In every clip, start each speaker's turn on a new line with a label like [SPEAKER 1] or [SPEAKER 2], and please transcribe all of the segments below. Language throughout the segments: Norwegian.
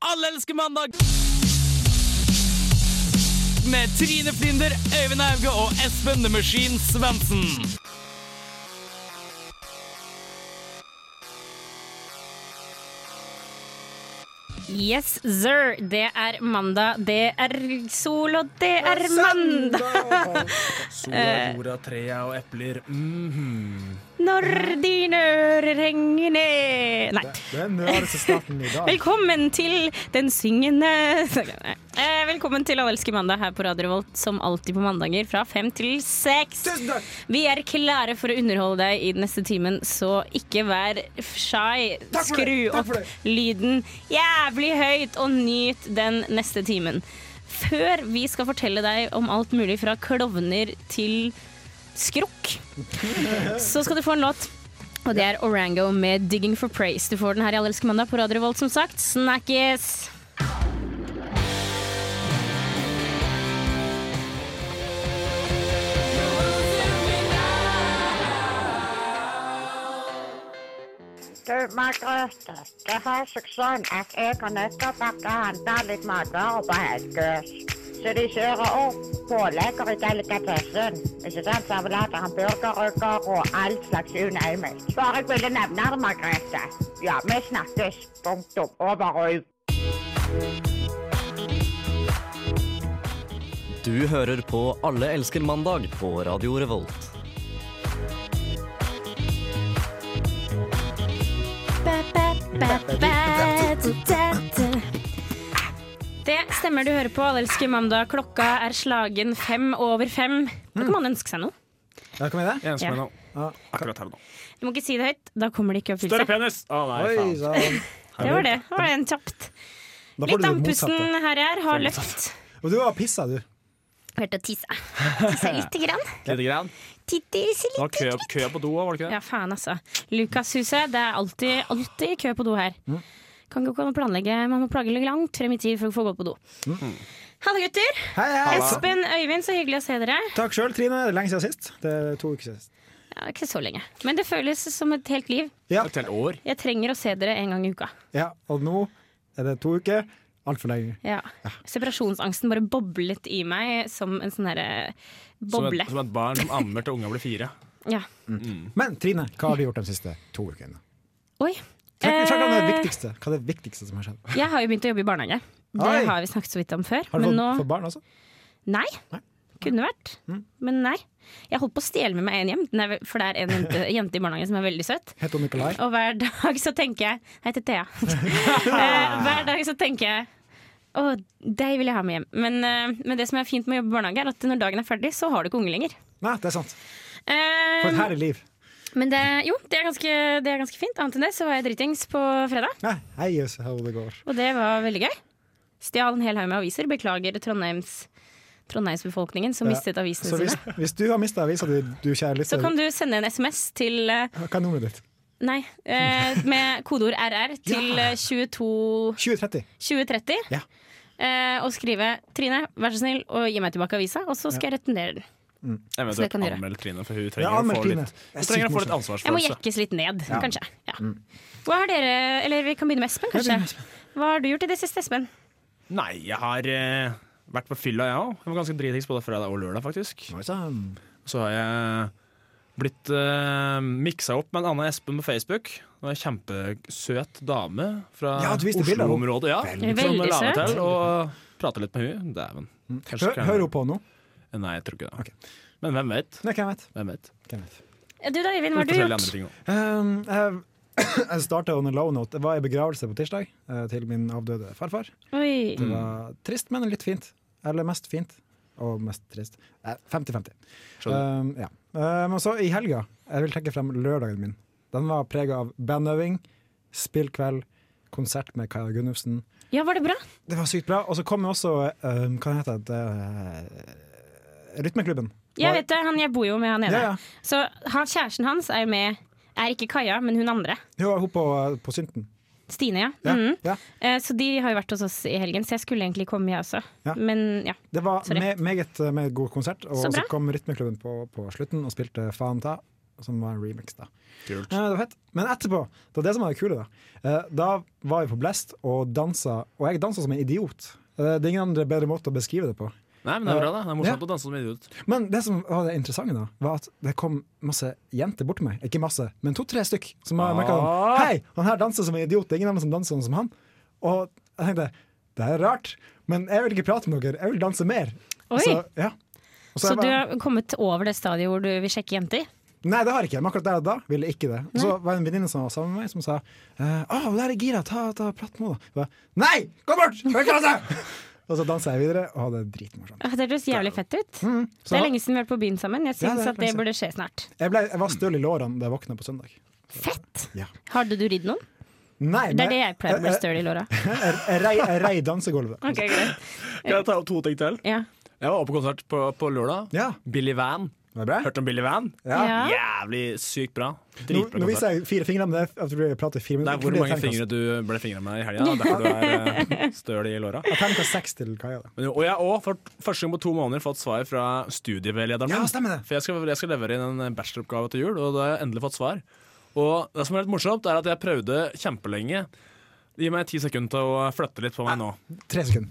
[SPEAKER 1] Alle elsker mandag! Med Trine Flinder, Øyvind Auge og Espen The Machine Svendsen.
[SPEAKER 2] Yes, sir. Det er mandag, det er sol, og det er mandag.
[SPEAKER 3] Sola,
[SPEAKER 2] Eh.
[SPEAKER 3] jorda, trea og epler. Mhm.
[SPEAKER 2] Når dine ører henger ned Nei.
[SPEAKER 3] Det er nerdestaten i dag.
[SPEAKER 2] Velkommen til den syngende Nei. Eh, Velkommen til Alle elsker mandag her på Radio Revolt, som alltid på mandager fra fem til seks.
[SPEAKER 3] Tusen takk!
[SPEAKER 2] Vi er klare for å underholde deg i den neste timen, så ikke vær shy.
[SPEAKER 3] Takk for det,
[SPEAKER 2] Skru
[SPEAKER 3] takk
[SPEAKER 2] opp
[SPEAKER 3] for det.
[SPEAKER 2] lyden jævlig høyt, og nyt den neste timen. Før vi skal fortelle deg om alt mulig fra klovner til skrukk, så skal du få en låt. Og det er Orango med 'Digging for Praise'. Du får den her i Allelske mandag på Radio Revolt, som sagt. Snakkes!
[SPEAKER 4] Du, Margrethe, det har seg sånn at jeg har nettopp vært og handla litt matvarer på Helgøs. Så de kjører opp pålegger i delikatessen. Ikke sant? Servelater, hamburgerrygger og all slags unøyelig. Bare jeg ville nevne det, Margrethe. Ja, vi snakkes. Punktum. Over og ut.
[SPEAKER 5] Du hører på Alle elsker mandag på Radio Revolt.
[SPEAKER 2] Det stemmer du hører på. Allelske mandag. Klokka er slagen fem over fem. Da
[SPEAKER 3] Mm.
[SPEAKER 2] kan man ønske seg noe.
[SPEAKER 3] Ja, kom igjen.
[SPEAKER 6] Jeg ønsker
[SPEAKER 2] Ja.
[SPEAKER 6] meg noe.
[SPEAKER 3] Ja.
[SPEAKER 6] Akkurat her og nå.
[SPEAKER 2] Du må ikke si det høyt. Da kommer det ikke
[SPEAKER 6] Større
[SPEAKER 2] oppfyllelse.
[SPEAKER 6] penis! Å nei,
[SPEAKER 3] Oi,
[SPEAKER 6] faen.
[SPEAKER 3] sånn.
[SPEAKER 2] Det var det. Det var en kjapt.
[SPEAKER 3] Da får
[SPEAKER 2] Litt
[SPEAKER 3] du det
[SPEAKER 2] andpusten
[SPEAKER 3] motsatte.
[SPEAKER 2] her jeg er har løpt.
[SPEAKER 3] Og du har pissa, du.
[SPEAKER 2] Hørte å tisse. Tisse lite grann.
[SPEAKER 6] Lite grann.
[SPEAKER 2] Tisse
[SPEAKER 6] Det var kø, kø på do òg, var det ikke det?
[SPEAKER 2] Ja, faen altså. Lukashuset, det er alltid, alltid kø på do her.
[SPEAKER 3] Mm.
[SPEAKER 2] Kan ikke gå an å planlegge, man må plage litt langt frem i tid for å få gå på do.
[SPEAKER 3] Mm.
[SPEAKER 2] Hallo gutter!
[SPEAKER 3] Hei, hei.
[SPEAKER 2] Espen, Øyvind, så hyggelig å se dere.
[SPEAKER 3] Takk sjøl, Trine. Det er lenge siden sist. Det er to uker siden sist.
[SPEAKER 2] Ja, ikke så lenge. Men det føles som et helt liv.
[SPEAKER 3] Ja,
[SPEAKER 6] Et helt år.
[SPEAKER 2] Jeg trenger å se dere en gang i uka.
[SPEAKER 3] ja. Og nå er det to uker. Altfor lenge.
[SPEAKER 2] Ja. Separasjonsangsten bare boblet i meg som en sånn herre
[SPEAKER 6] Som
[SPEAKER 2] boble.
[SPEAKER 6] et, som et barn som ammer til unga blir fire.
[SPEAKER 2] Ja.
[SPEAKER 3] Men Trine, hva har du gjort de siste to ukene?
[SPEAKER 2] Oi.
[SPEAKER 3] Snakk snakk om det
[SPEAKER 2] Eh,
[SPEAKER 3] viktigste. Hva er det viktigste som har skjedd?
[SPEAKER 2] jeg har jo begynt å jobbe i barnehage. Det
[SPEAKER 3] Oi.
[SPEAKER 2] har vi snakket så vidt om før.
[SPEAKER 3] Har du
[SPEAKER 2] men
[SPEAKER 3] fått,
[SPEAKER 2] nå
[SPEAKER 3] fått barn også?
[SPEAKER 2] Nei.
[SPEAKER 3] Nei. Mm.
[SPEAKER 2] Kunne vært, men nei. Jeg holdt på å stjele med meg en hjem, den er vel- for det er en jente, jente i barnehagen som er veldig søt.
[SPEAKER 3] Heter hun Nikolai?
[SPEAKER 2] Og hver dag så tenker jeg Jeg heter Thea. Eh, hver dag så tenker jeg å, deg vil jeg ha med hjem. Men, eh, men det som er fint med å jobbe i barnehage, er at når dagen er ferdig, så har du ikke unge lenger.
[SPEAKER 3] Nei, det er sant.
[SPEAKER 2] Eh,
[SPEAKER 3] For et herlig liv.
[SPEAKER 2] men det, jo, det er, ganske, det er ganske fint. Annet enn det så var jeg dritings på fredag,
[SPEAKER 3] Nei, hei, jøss, her hvor det går.
[SPEAKER 2] og det var veldig gøy. Stjal en hel haug med aviser. Beklager Trondheims, Trondheimsbefolkningen som
[SPEAKER 3] Ja.
[SPEAKER 2] mistet avisene
[SPEAKER 3] Så hvis,
[SPEAKER 2] sine.
[SPEAKER 3] hvis du har mista avisa di, du
[SPEAKER 2] Så
[SPEAKER 3] kjære lytter,
[SPEAKER 2] kan du sende en SMS til eh,
[SPEAKER 3] hva er nummeret ditt?
[SPEAKER 2] Nei, eh, med kodeord RR til eh, 22
[SPEAKER 3] 2030.
[SPEAKER 2] 2030.
[SPEAKER 3] Ja.
[SPEAKER 2] eh, og skrive 'Trine, vær så snill å gi meg tilbake avisa', og så skal jeg returnere den. Så det
[SPEAKER 6] Eventuelt
[SPEAKER 2] kan du gjøre.
[SPEAKER 6] anmeld Trine, for hun
[SPEAKER 3] Ja,
[SPEAKER 6] trenger,
[SPEAKER 3] anmeld
[SPEAKER 6] å, få
[SPEAKER 3] Trine.
[SPEAKER 6] litt,
[SPEAKER 3] Jeg er
[SPEAKER 6] hun trenger å
[SPEAKER 3] sykt
[SPEAKER 6] få litt
[SPEAKER 2] Jeg må
[SPEAKER 6] ansvarsfølelse.
[SPEAKER 2] jekkes litt ned, kanskje. Ja. Hva har dere Eller vi kan begynne med Espen,
[SPEAKER 3] Mm. begynner med
[SPEAKER 2] kanskje. Hva har du gjort i det siste, Espen?
[SPEAKER 6] Nei, jeg har eh, vært på fylla, jeg òg. Jeg var ganske dritings både fredag og lørdag, faktisk.
[SPEAKER 3] Oi sann.
[SPEAKER 6] Så har jeg blitt eh, miksa opp med en annen Espen på Facebook. Det var En kjempesøt dame fra
[SPEAKER 3] Ja, du viste bilder av henne.
[SPEAKER 6] Oslo-området. Ja,
[SPEAKER 3] Veldig
[SPEAKER 6] som
[SPEAKER 2] søt.
[SPEAKER 6] la meg til og prata litt med hun. Dæven. Kanskje
[SPEAKER 3] Mm. Hør,
[SPEAKER 6] kan-
[SPEAKER 3] hører hun på nå?
[SPEAKER 6] Nei, jeg tror ikke det.
[SPEAKER 3] Ok.
[SPEAKER 6] Men hvem vet?
[SPEAKER 3] Nei, hvem vet?
[SPEAKER 6] Hvem vet?
[SPEAKER 3] Hvem vet?
[SPEAKER 2] Ja, Du da, Øyvind, hva har du
[SPEAKER 6] Forskjellige
[SPEAKER 2] gjort?
[SPEAKER 6] andre ting også.
[SPEAKER 3] Um, jeg jeg starta on a low note. Det var i begravelse på tirsdag eh, til min avdøde farfar.
[SPEAKER 2] Oi.
[SPEAKER 3] Det var trist, men litt fint. Eller mest fint. Og mest trist. Eh, 50-50. Um, ja. um, og så i helga. Jeg vil trekke frem lørdagen min. Den var prega av bandøving, spillkveld, konsert med Kaja Gunnufsen.
[SPEAKER 2] Ja, var det bra?
[SPEAKER 3] Det var sykt bra. Og så kom jo også um, Hva heter det? Eh, Rytmeklubben.
[SPEAKER 2] Jeg
[SPEAKER 3] Var-
[SPEAKER 2] vet det, han, jeg bor jo med han ene.
[SPEAKER 3] Ja, ja.
[SPEAKER 2] Så han, kjæresten hans er med Er ikke Kaja, men hun andre.
[SPEAKER 3] Jo, hun på, på Synten.
[SPEAKER 2] Stine, ja.
[SPEAKER 3] Ja,
[SPEAKER 2] Mhm.
[SPEAKER 3] ja.
[SPEAKER 2] Eh, Så de har jo vært hos oss i helgen, så jeg skulle egentlig komme, jeg også.
[SPEAKER 3] Ja.
[SPEAKER 2] Men ja.
[SPEAKER 3] Det var
[SPEAKER 2] Sorry.
[SPEAKER 3] me meget, meget god konsert, og
[SPEAKER 2] Så
[SPEAKER 3] så,
[SPEAKER 2] bra.
[SPEAKER 3] kom Rytmeklubben på, på slutten og spilte Faen ta. som var en remix. da
[SPEAKER 6] Kult.
[SPEAKER 3] ja, det var fett. Men etterpå, det var det som var det kule, da. Eh, Da var vi på Blest og dansa, og jeg dansa som en idiot. Eh, Det er ingen andre bedre måte å beskrive det på.
[SPEAKER 6] Nei, men det er bra, da. Det er morsomt å danse som idiot.
[SPEAKER 3] Men det som var det interessante, da var at det kom masse jenter bort til meg. Ikke masse, men to-tre stykk. Som jeg merket
[SPEAKER 2] Ah.
[SPEAKER 3] sånn Hei, han her danser som en idiot. Det er ingen andre som danser sånn som han. Og jeg tenkte det er rart, men jeg vil ikke prate med dere. Jeg vil danse mer.
[SPEAKER 2] Oi.
[SPEAKER 3] Så, ja. Og
[SPEAKER 2] Så
[SPEAKER 3] jeg
[SPEAKER 2] du har
[SPEAKER 3] bare-
[SPEAKER 2] kommet over det stadiet hvor du vil sjekke jenter?
[SPEAKER 3] Nei, det har jeg ikke. Men akkurat der og da ville jeg ikke det. Og så var det en venninne som var sammen med meg, som sa eh, Å, hun der er gira, ta, ta prat med henne. da». Jeg bare, Nei, gå bort! Jeg vil ikke danse! og så dansa jeg videre, og hadde det dritmorsomt.
[SPEAKER 2] Ah, Det høres jævlig fett ut.
[SPEAKER 3] Mm.
[SPEAKER 2] Det
[SPEAKER 3] Så
[SPEAKER 2] er lenge siden vi har vært på byen sammen. Jeg
[SPEAKER 3] Ja, det
[SPEAKER 2] syns
[SPEAKER 3] er
[SPEAKER 2] at det
[SPEAKER 3] kanskje-
[SPEAKER 2] burde skje snart.
[SPEAKER 3] jeg, ble, jeg var støl i lårene da jeg våkna på søndag.
[SPEAKER 2] Fett!
[SPEAKER 3] Ja.
[SPEAKER 2] Hadde du ridd noen?
[SPEAKER 3] Nei, Eh,
[SPEAKER 2] Det er det jeg pleier å bli støl i låra.
[SPEAKER 3] Jeg, jeg, rei- jeg rei dansegulvet.
[SPEAKER 2] Ok, greit.
[SPEAKER 6] Kan jeg ta opp to ting til?
[SPEAKER 2] Ja.
[SPEAKER 6] Jeg var på konsert på, på lørdag.
[SPEAKER 3] Ja,
[SPEAKER 6] Billy Van.
[SPEAKER 3] var det bra?
[SPEAKER 6] Hørte om Billy Van?
[SPEAKER 3] Ja.
[SPEAKER 2] Ja.
[SPEAKER 6] Jævlig sykt bra.
[SPEAKER 3] Nå,
[SPEAKER 6] Dritbra
[SPEAKER 3] nå
[SPEAKER 6] konsert.
[SPEAKER 3] viser jeg fire fingre, men det er at du prater fire
[SPEAKER 6] Det
[SPEAKER 3] minutter.
[SPEAKER 6] er hvor mange fingre du ble fingra med i helga. da. Derfor du er eh, støl i låra.
[SPEAKER 3] Jeg tegnet seks til Kaja. da.
[SPEAKER 6] Men jo, Og jeg har òg for første gang på to måneder fått svar fra studieveilederen
[SPEAKER 3] Ja,
[SPEAKER 6] min.
[SPEAKER 3] stemmer det.
[SPEAKER 6] For jeg skal, jeg skal levere inn en eh, bacheloroppgave til jul, og da har jeg endelig fått svar. Og det som er litt morsomt, er at jeg prøvde kjempelenge. Gi meg ti sekunder til å flytte litt på meg nå.
[SPEAKER 3] Tre sekunder.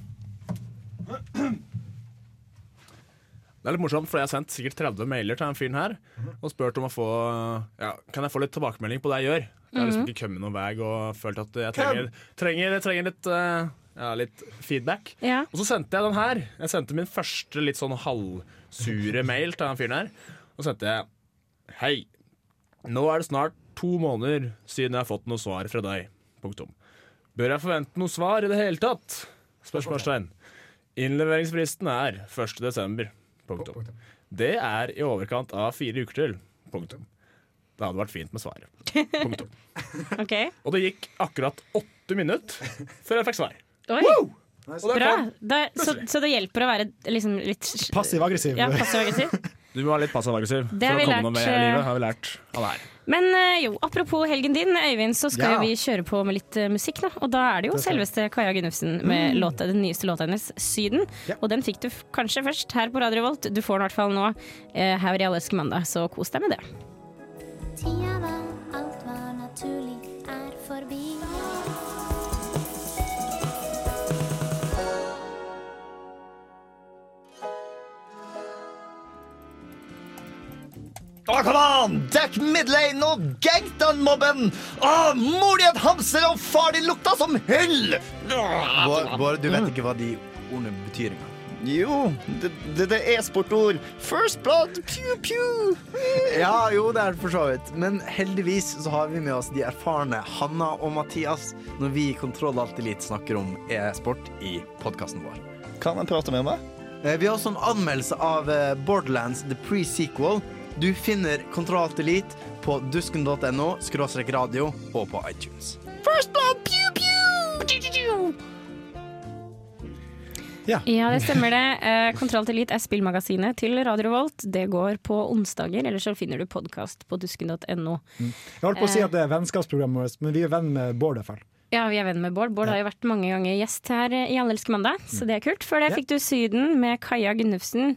[SPEAKER 6] Det er litt morsomt, for jeg har sendt sikkert 30 mailer til den fyren her og spurt om å få ja, Kan jeg få litt tilbakemelding på det jeg gjør? Jeg har liksom ikke kommet noen vei og følt at jeg trenger, trenger, jeg trenger litt, eh, ja, litt feedback.
[SPEAKER 2] Ja.
[SPEAKER 6] Og så sendte jeg den her. Jeg sendte min første litt sånn halvsure mail til den fyren her. Og så sendte jeg Hei, nå er det snart to måneder siden jeg har fått noe svar fra deg. Punktum. Bør jeg forvente noe svar i det hele tatt? Spørsmålstegn. Innleveringsfristen er 1. desember. Punktum. Det er i overkant av fire uker til. Punktum. Det hadde vært fint med svar. Punktum.
[SPEAKER 2] Ok.
[SPEAKER 6] Og det gikk akkurat åtte minutter før jeg fikk svar.
[SPEAKER 2] Oi,
[SPEAKER 6] Og der
[SPEAKER 2] bra!
[SPEAKER 6] kom-
[SPEAKER 2] Da, så, så det hjelper å være liksom litt
[SPEAKER 3] Passiv-aggressiv.
[SPEAKER 2] Ja, passiv-aggressiv.
[SPEAKER 6] Du må være litt passiv-aggressiv for
[SPEAKER 2] Det har
[SPEAKER 6] å
[SPEAKER 2] vi
[SPEAKER 6] komme noe med i
[SPEAKER 2] lært, eh,
[SPEAKER 6] livet, har vi lært av det her.
[SPEAKER 2] Men eh, jo, apropos helgen din, Øyvind, så skal
[SPEAKER 3] Ja.
[SPEAKER 2] jo vi kjøre på med litt eh, musikk nå. Og da er det jo selveste Kaja Gunnufsen med låta, den nyeste låta hennes, 'Syden'.
[SPEAKER 3] Mm. Ja.
[SPEAKER 2] Og den fikk du f- kanskje først her på Radio Volt. Du får den i hvert fall nå eh, her i Allerske mandag, så kos deg med det.
[SPEAKER 7] Tida da alt var naturlig, er forbi.
[SPEAKER 8] Å, come on! Dekk midlane og Ah, gank den mobben! Å, mor di het hamser, og far din lukta som hull!
[SPEAKER 9] Bård, Bård, du vet ikke hva de ordene betyr engang.
[SPEAKER 8] Jo, det, det, det er e-sportord. First blood, pew pew.
[SPEAKER 9] Ja, jo, det er det for så vidt. Men heldigvis så har vi med oss de erfarne Hanna og Mathias når vi i Kontroll Alt Elite snakker om e-sport i podkasten vår.
[SPEAKER 8] Kan jeg prate med meg?
[SPEAKER 9] Eh, Vi har også en anmeldelse av eh, Borderlands The Pre-Sequel. Du finner Kontroll Alt Elite på dusken.no, skråstrek radio og på iTunes.
[SPEAKER 8] First blood, pew pew.
[SPEAKER 2] Ja, det stemmer det. Eh, Kontroll til Elite er spillmagasinet til Radio Volt. Det går på onsdager, eller så finner du podkast på dusken.no.
[SPEAKER 3] Jeg holdt på
[SPEAKER 2] Eh.
[SPEAKER 3] å si at det er vennskapsprogrammet vårt, men vi er venn med Bård i hvert fall.
[SPEAKER 2] Ja, vi er venn med Bård. Bård har jo vært mange ganger gjest her eh, i Allelske mandag, så det er kult. Før det
[SPEAKER 3] Mm. Ja.
[SPEAKER 2] fikk du Syden med Kaja Gunnufsen.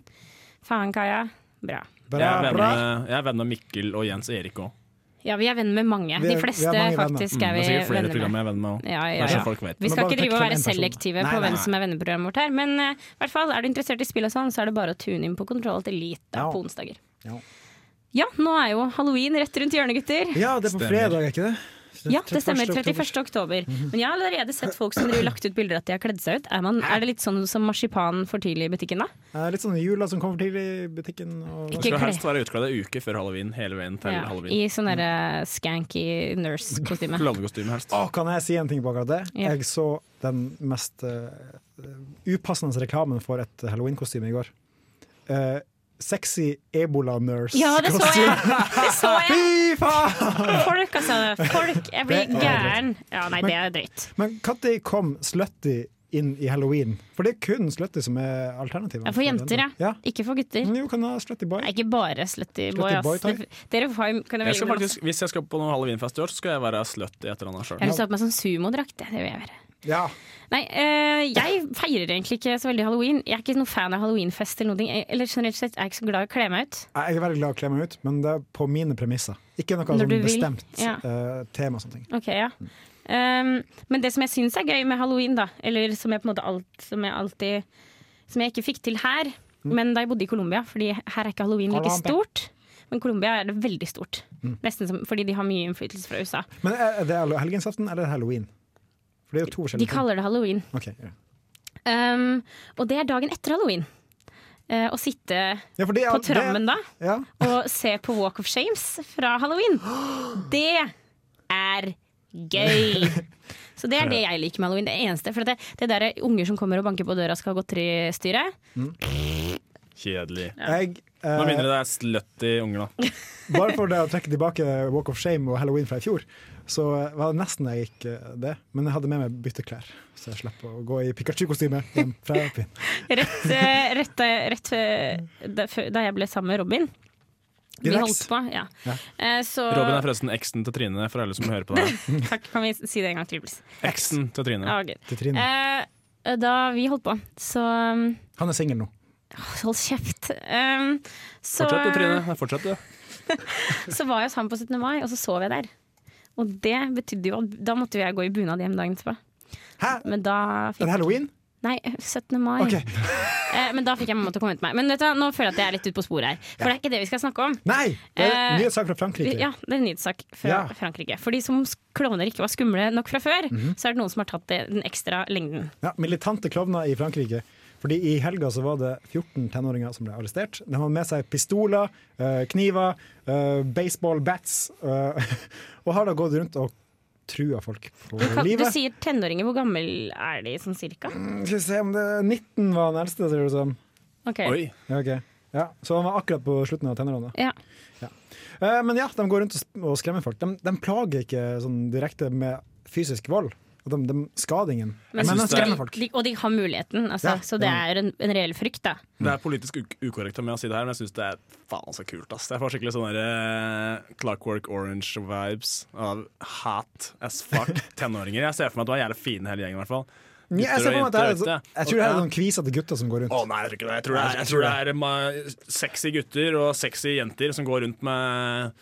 [SPEAKER 2] Faen, Kaja. Bra.
[SPEAKER 3] Bra,
[SPEAKER 6] Jeg er venn
[SPEAKER 3] bra.
[SPEAKER 6] med, jeg er venn med Mikkel og Jens Erik òg.
[SPEAKER 2] Ja, vi er venn med mange.
[SPEAKER 3] Vi er-
[SPEAKER 2] De fleste
[SPEAKER 3] vi er mange Mm.
[SPEAKER 2] faktisk
[SPEAKER 6] Det
[SPEAKER 2] er vi
[SPEAKER 6] er sikkert flere
[SPEAKER 2] venner
[SPEAKER 6] program
[SPEAKER 2] med.
[SPEAKER 6] jeg er venn med òg.
[SPEAKER 2] Ja, ja,
[SPEAKER 6] Bare så
[SPEAKER 2] ja.
[SPEAKER 6] folk vet.
[SPEAKER 2] Vi
[SPEAKER 3] Men
[SPEAKER 2] skal
[SPEAKER 3] bare
[SPEAKER 2] ikke drive
[SPEAKER 3] trekke
[SPEAKER 2] og
[SPEAKER 3] fram
[SPEAKER 2] være
[SPEAKER 3] en person.
[SPEAKER 2] selektive
[SPEAKER 3] Nei,
[SPEAKER 2] på
[SPEAKER 3] nei,
[SPEAKER 2] hvem
[SPEAKER 3] nei.
[SPEAKER 2] som er venneprogrammet vårt her, men eh, i hvert fall er du interessert i spill og sånn, så er det bare å tune inn på Kontroll til Elite da,
[SPEAKER 3] Ja.
[SPEAKER 2] på onsdager.
[SPEAKER 3] Ja.
[SPEAKER 2] Ja, nå er jo halloween rett rundt hjørnet, gutter.
[SPEAKER 3] Ja, det er på
[SPEAKER 6] Stemmer.
[SPEAKER 3] fredag, er ikke det?
[SPEAKER 2] Ja, det stemmer.
[SPEAKER 3] 31. oktober. Mhm.
[SPEAKER 2] 31. oktober. Men jeg har allerede sett folk som driver lagt ut bilder at de har kledd seg ut. Er, man, er det litt sånn som marsipan for tidlig i butikken, da?
[SPEAKER 3] Eh, Litt sånn jula som kommer tidlig i butikken. Og
[SPEAKER 2] Ikke
[SPEAKER 6] Skal
[SPEAKER 2] kle-
[SPEAKER 6] helst være utkledd ei uke før halloween, hele veien til
[SPEAKER 2] Ja,
[SPEAKER 6] halloween.
[SPEAKER 2] I sånn derre skanky nurse-kostyme.
[SPEAKER 6] Klovnekostyme helst.
[SPEAKER 3] Å, kan jeg si en ting på akkurat det?
[SPEAKER 2] Ja.
[SPEAKER 3] Jeg så den mest eh, upassende reklamen for et halloweenkostyme i går. Eh, sexy ebola-nurse.
[SPEAKER 2] Ja, det så jeg! Det så jeg!
[SPEAKER 3] Fy faen!
[SPEAKER 2] Folk, altså. Folk. Jeg blir
[SPEAKER 3] Det er
[SPEAKER 2] gæren. Ja, nei, det er drøyt.
[SPEAKER 3] Men når kom slutty inn i halloween? For det er kun slutty som er alternativet.
[SPEAKER 2] Ja, for jenter, ja.
[SPEAKER 3] ja.
[SPEAKER 2] Ikke for gutter.
[SPEAKER 3] Men Jo, kan du ha slutty boy?
[SPEAKER 2] Nei, ikke bare slutty boy,
[SPEAKER 3] Slutty boy,
[SPEAKER 2] ass.
[SPEAKER 3] takk.
[SPEAKER 2] Dere har, jo- kan jo
[SPEAKER 6] Jeg
[SPEAKER 2] velge mellom
[SPEAKER 6] skal
[SPEAKER 2] masse.
[SPEAKER 6] faktisk, hvis jeg skal på noen halloweenfest i år, så skal jeg være slutty et eller annet sjøl.
[SPEAKER 2] Jeg har lyst til å ha på meg sånn sumodrakt. Det vil jeg være.
[SPEAKER 3] Ja.
[SPEAKER 2] Nei, eh, jeg feirer egentlig ikke så veldig halloween. Jeg er ikke noen fan av halloweenfest eller noe. Jeg- Eller generelt sett er jeg ikke så glad i å kle meg ut.
[SPEAKER 3] Jeg er veldig glad i å kle meg ut, men det er på mine premisser. Ikke noe
[SPEAKER 2] Når
[SPEAKER 3] sånn
[SPEAKER 2] du vil.
[SPEAKER 3] bestemt
[SPEAKER 2] Ja.
[SPEAKER 3] eh, tema. og sånne ting.
[SPEAKER 2] Ok, ja. Um, men det som jeg syns er gøy med halloween, da, eller som jeg på en måte alt, som jeg alltid Som jeg ikke fikk til her, men da jeg bodde i Colombia, fordi her er ikke halloween like
[SPEAKER 3] Mm. Colombia. Mm.
[SPEAKER 2] stort. Men Colombia er det veldig stort. Nesten som, fordi de har mye innflytelse fra USA.
[SPEAKER 3] Men er er det helgensaften eller halloween? For det er jo to
[SPEAKER 2] De
[SPEAKER 3] forskjellige
[SPEAKER 2] kaller det halloween.
[SPEAKER 3] ting. Ok, ja.
[SPEAKER 2] Um, og det er dagen etter halloween. Eh, å sitte
[SPEAKER 3] Ja, for det er-
[SPEAKER 2] på
[SPEAKER 3] det er-
[SPEAKER 2] trammen da
[SPEAKER 3] Ja.
[SPEAKER 2] og se på Walk of Shames fra halloween. Det er gøy! Så det er det jeg liker med halloween. Det eneste. For det, det der er unger som kommer og banker på døra skal ha godteristyre.
[SPEAKER 6] Kjedelig.
[SPEAKER 3] Jeg, eh,
[SPEAKER 6] Med mindre det er slutty unger, da.
[SPEAKER 3] bare for det å trekke tilbake Walk of Shame og Halloween fra i fjor, så var det nesten jeg gikk eh, det. Men jeg hadde med meg bytteklær, så jeg slapp å gå i Pikachu-kostyme hjem fra Alpin.
[SPEAKER 2] Rett, eh, rett, eh, rett eh, da, før- da jeg ble sammen med Robin. Vi
[SPEAKER 3] Relax.
[SPEAKER 2] holdt på, ja.
[SPEAKER 3] Ja.
[SPEAKER 2] Eh, så
[SPEAKER 6] Robin er forresten eksen til Trine, for alle som hører på deg.
[SPEAKER 2] Takk, kan vi si det en gang til, please?
[SPEAKER 6] Eksen til Trine.
[SPEAKER 2] Ja, gud.
[SPEAKER 3] Til Trine.
[SPEAKER 2] Eh, da vi holdt på, så um,
[SPEAKER 3] Han er singel nå.
[SPEAKER 2] Hold kjeft. Um, så,
[SPEAKER 6] Fortsett du, Trine. Fortsett du.
[SPEAKER 2] så var jeg hos ham på 17. mai, og så sov jeg der. Og det betydde jo at da måtte jo jeg gå i bunad hjem dagen etterpå.
[SPEAKER 3] Hæ?
[SPEAKER 2] Men da
[SPEAKER 3] Er det
[SPEAKER 2] fikk
[SPEAKER 3] halloween?
[SPEAKER 2] Nei, 17. mai.
[SPEAKER 3] Ok.
[SPEAKER 2] Eh, men da fikk jeg mamma til å komme ut til meg. Men vet du, hva, nå føler jeg at jeg er litt ute på sporet her. For det er ikke det vi skal snakke om.
[SPEAKER 3] Nei! Det er
[SPEAKER 2] Eh,
[SPEAKER 3] en nyhetssak fra Frankrike.
[SPEAKER 2] Ja, det er en nyhetssak fra
[SPEAKER 3] Ja.
[SPEAKER 2] Frankrike. For de som s- klovner ikke var skumle nok fra før, så er det noen som har tatt det, den ekstra lengden.
[SPEAKER 3] Ja, militante klovner i Frankrike. Fordi I helga så var det 14 tenåringer som ble arrestert. De hadde med seg pistoler, eh, kniver, eh, baseball bats. eh, Og har da gått rundt og trua folk på
[SPEAKER 2] Kan, du
[SPEAKER 3] livet.
[SPEAKER 2] sier tenåringer. Hvor gammel er de sånn cirka?
[SPEAKER 3] Skal vi se om det 19 var den eldste, ser det ut som.
[SPEAKER 2] Ok.
[SPEAKER 6] Oi.
[SPEAKER 3] Ja, ok. ja, så han var akkurat på slutten av tenårene.
[SPEAKER 2] Ja.
[SPEAKER 3] Eh, Men ja, de går rundt og sp- og skremmer folk. De, de plager ikke sånn direkte med fysisk vold. Og De, de skader ingen. Men, de
[SPEAKER 6] synes det er-
[SPEAKER 3] skremmer folk.
[SPEAKER 2] De, og de har muligheten, altså,
[SPEAKER 3] Ja,
[SPEAKER 2] så det
[SPEAKER 3] ja.
[SPEAKER 2] er en, en reell frykt, da.
[SPEAKER 6] Det er politisk uk ukorrekt av meg å si det her, men jeg syns det er faen så kult. ass. Jeg får skikkelig sånne der, eh, Clockwork Orange-vibes av hat as fuck tenåringer. Jeg ser for meg at du er jævlig fine hele gjengen, i hvert fall.
[SPEAKER 3] Ja, jeg,
[SPEAKER 6] Gutter
[SPEAKER 3] ser
[SPEAKER 6] og
[SPEAKER 3] for meg at det her er,
[SPEAKER 6] jenter, vet
[SPEAKER 3] så-
[SPEAKER 6] du.
[SPEAKER 3] jeg tror det her er
[SPEAKER 6] Ja.
[SPEAKER 3] sånn kvisete gutter som går rundt.
[SPEAKER 6] Å nei, jeg tror ikke det. Jeg tror det er, jeg tror det er ma- sexy gutter og sexy jenter som går rundt med,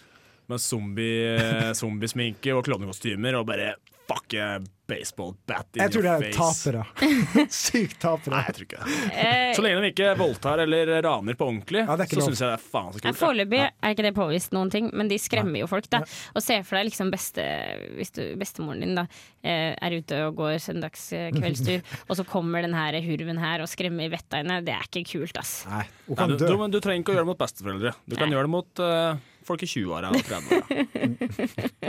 [SPEAKER 6] med zombie, eh, zombiesminke og klovnekostymer og bare fuck eh, baseball bat in
[SPEAKER 3] Jeg tror det
[SPEAKER 6] your
[SPEAKER 3] er
[SPEAKER 6] face.
[SPEAKER 3] tapere. Sykt tapere.
[SPEAKER 6] Nei, jeg tror ikke det.
[SPEAKER 2] Eh,
[SPEAKER 6] Så lenge de ikke voldtar eller raner på ordentlig,
[SPEAKER 3] Ja, det er ikke
[SPEAKER 6] så
[SPEAKER 3] lov.
[SPEAKER 6] syns jeg det er faen så
[SPEAKER 2] Nei,
[SPEAKER 6] kult.
[SPEAKER 2] Foreløpig er ikke det påvist noen ting, men de skremmer jo folk. da Og se for deg liksom beste, hvis du, bestemoren din da eh, er ute og går søndagskveldstur, og så kommer den her hurven her og skremmer vettet av henne. Det er ikke kult, ass.
[SPEAKER 3] Nei, hun
[SPEAKER 6] Nei,
[SPEAKER 3] kan
[SPEAKER 6] du,
[SPEAKER 3] dø.
[SPEAKER 6] du, men du trenger ikke å gjøre det mot besteforeldre. Du kan gjøre det mot eh, folk i 20-åra og 30-åra.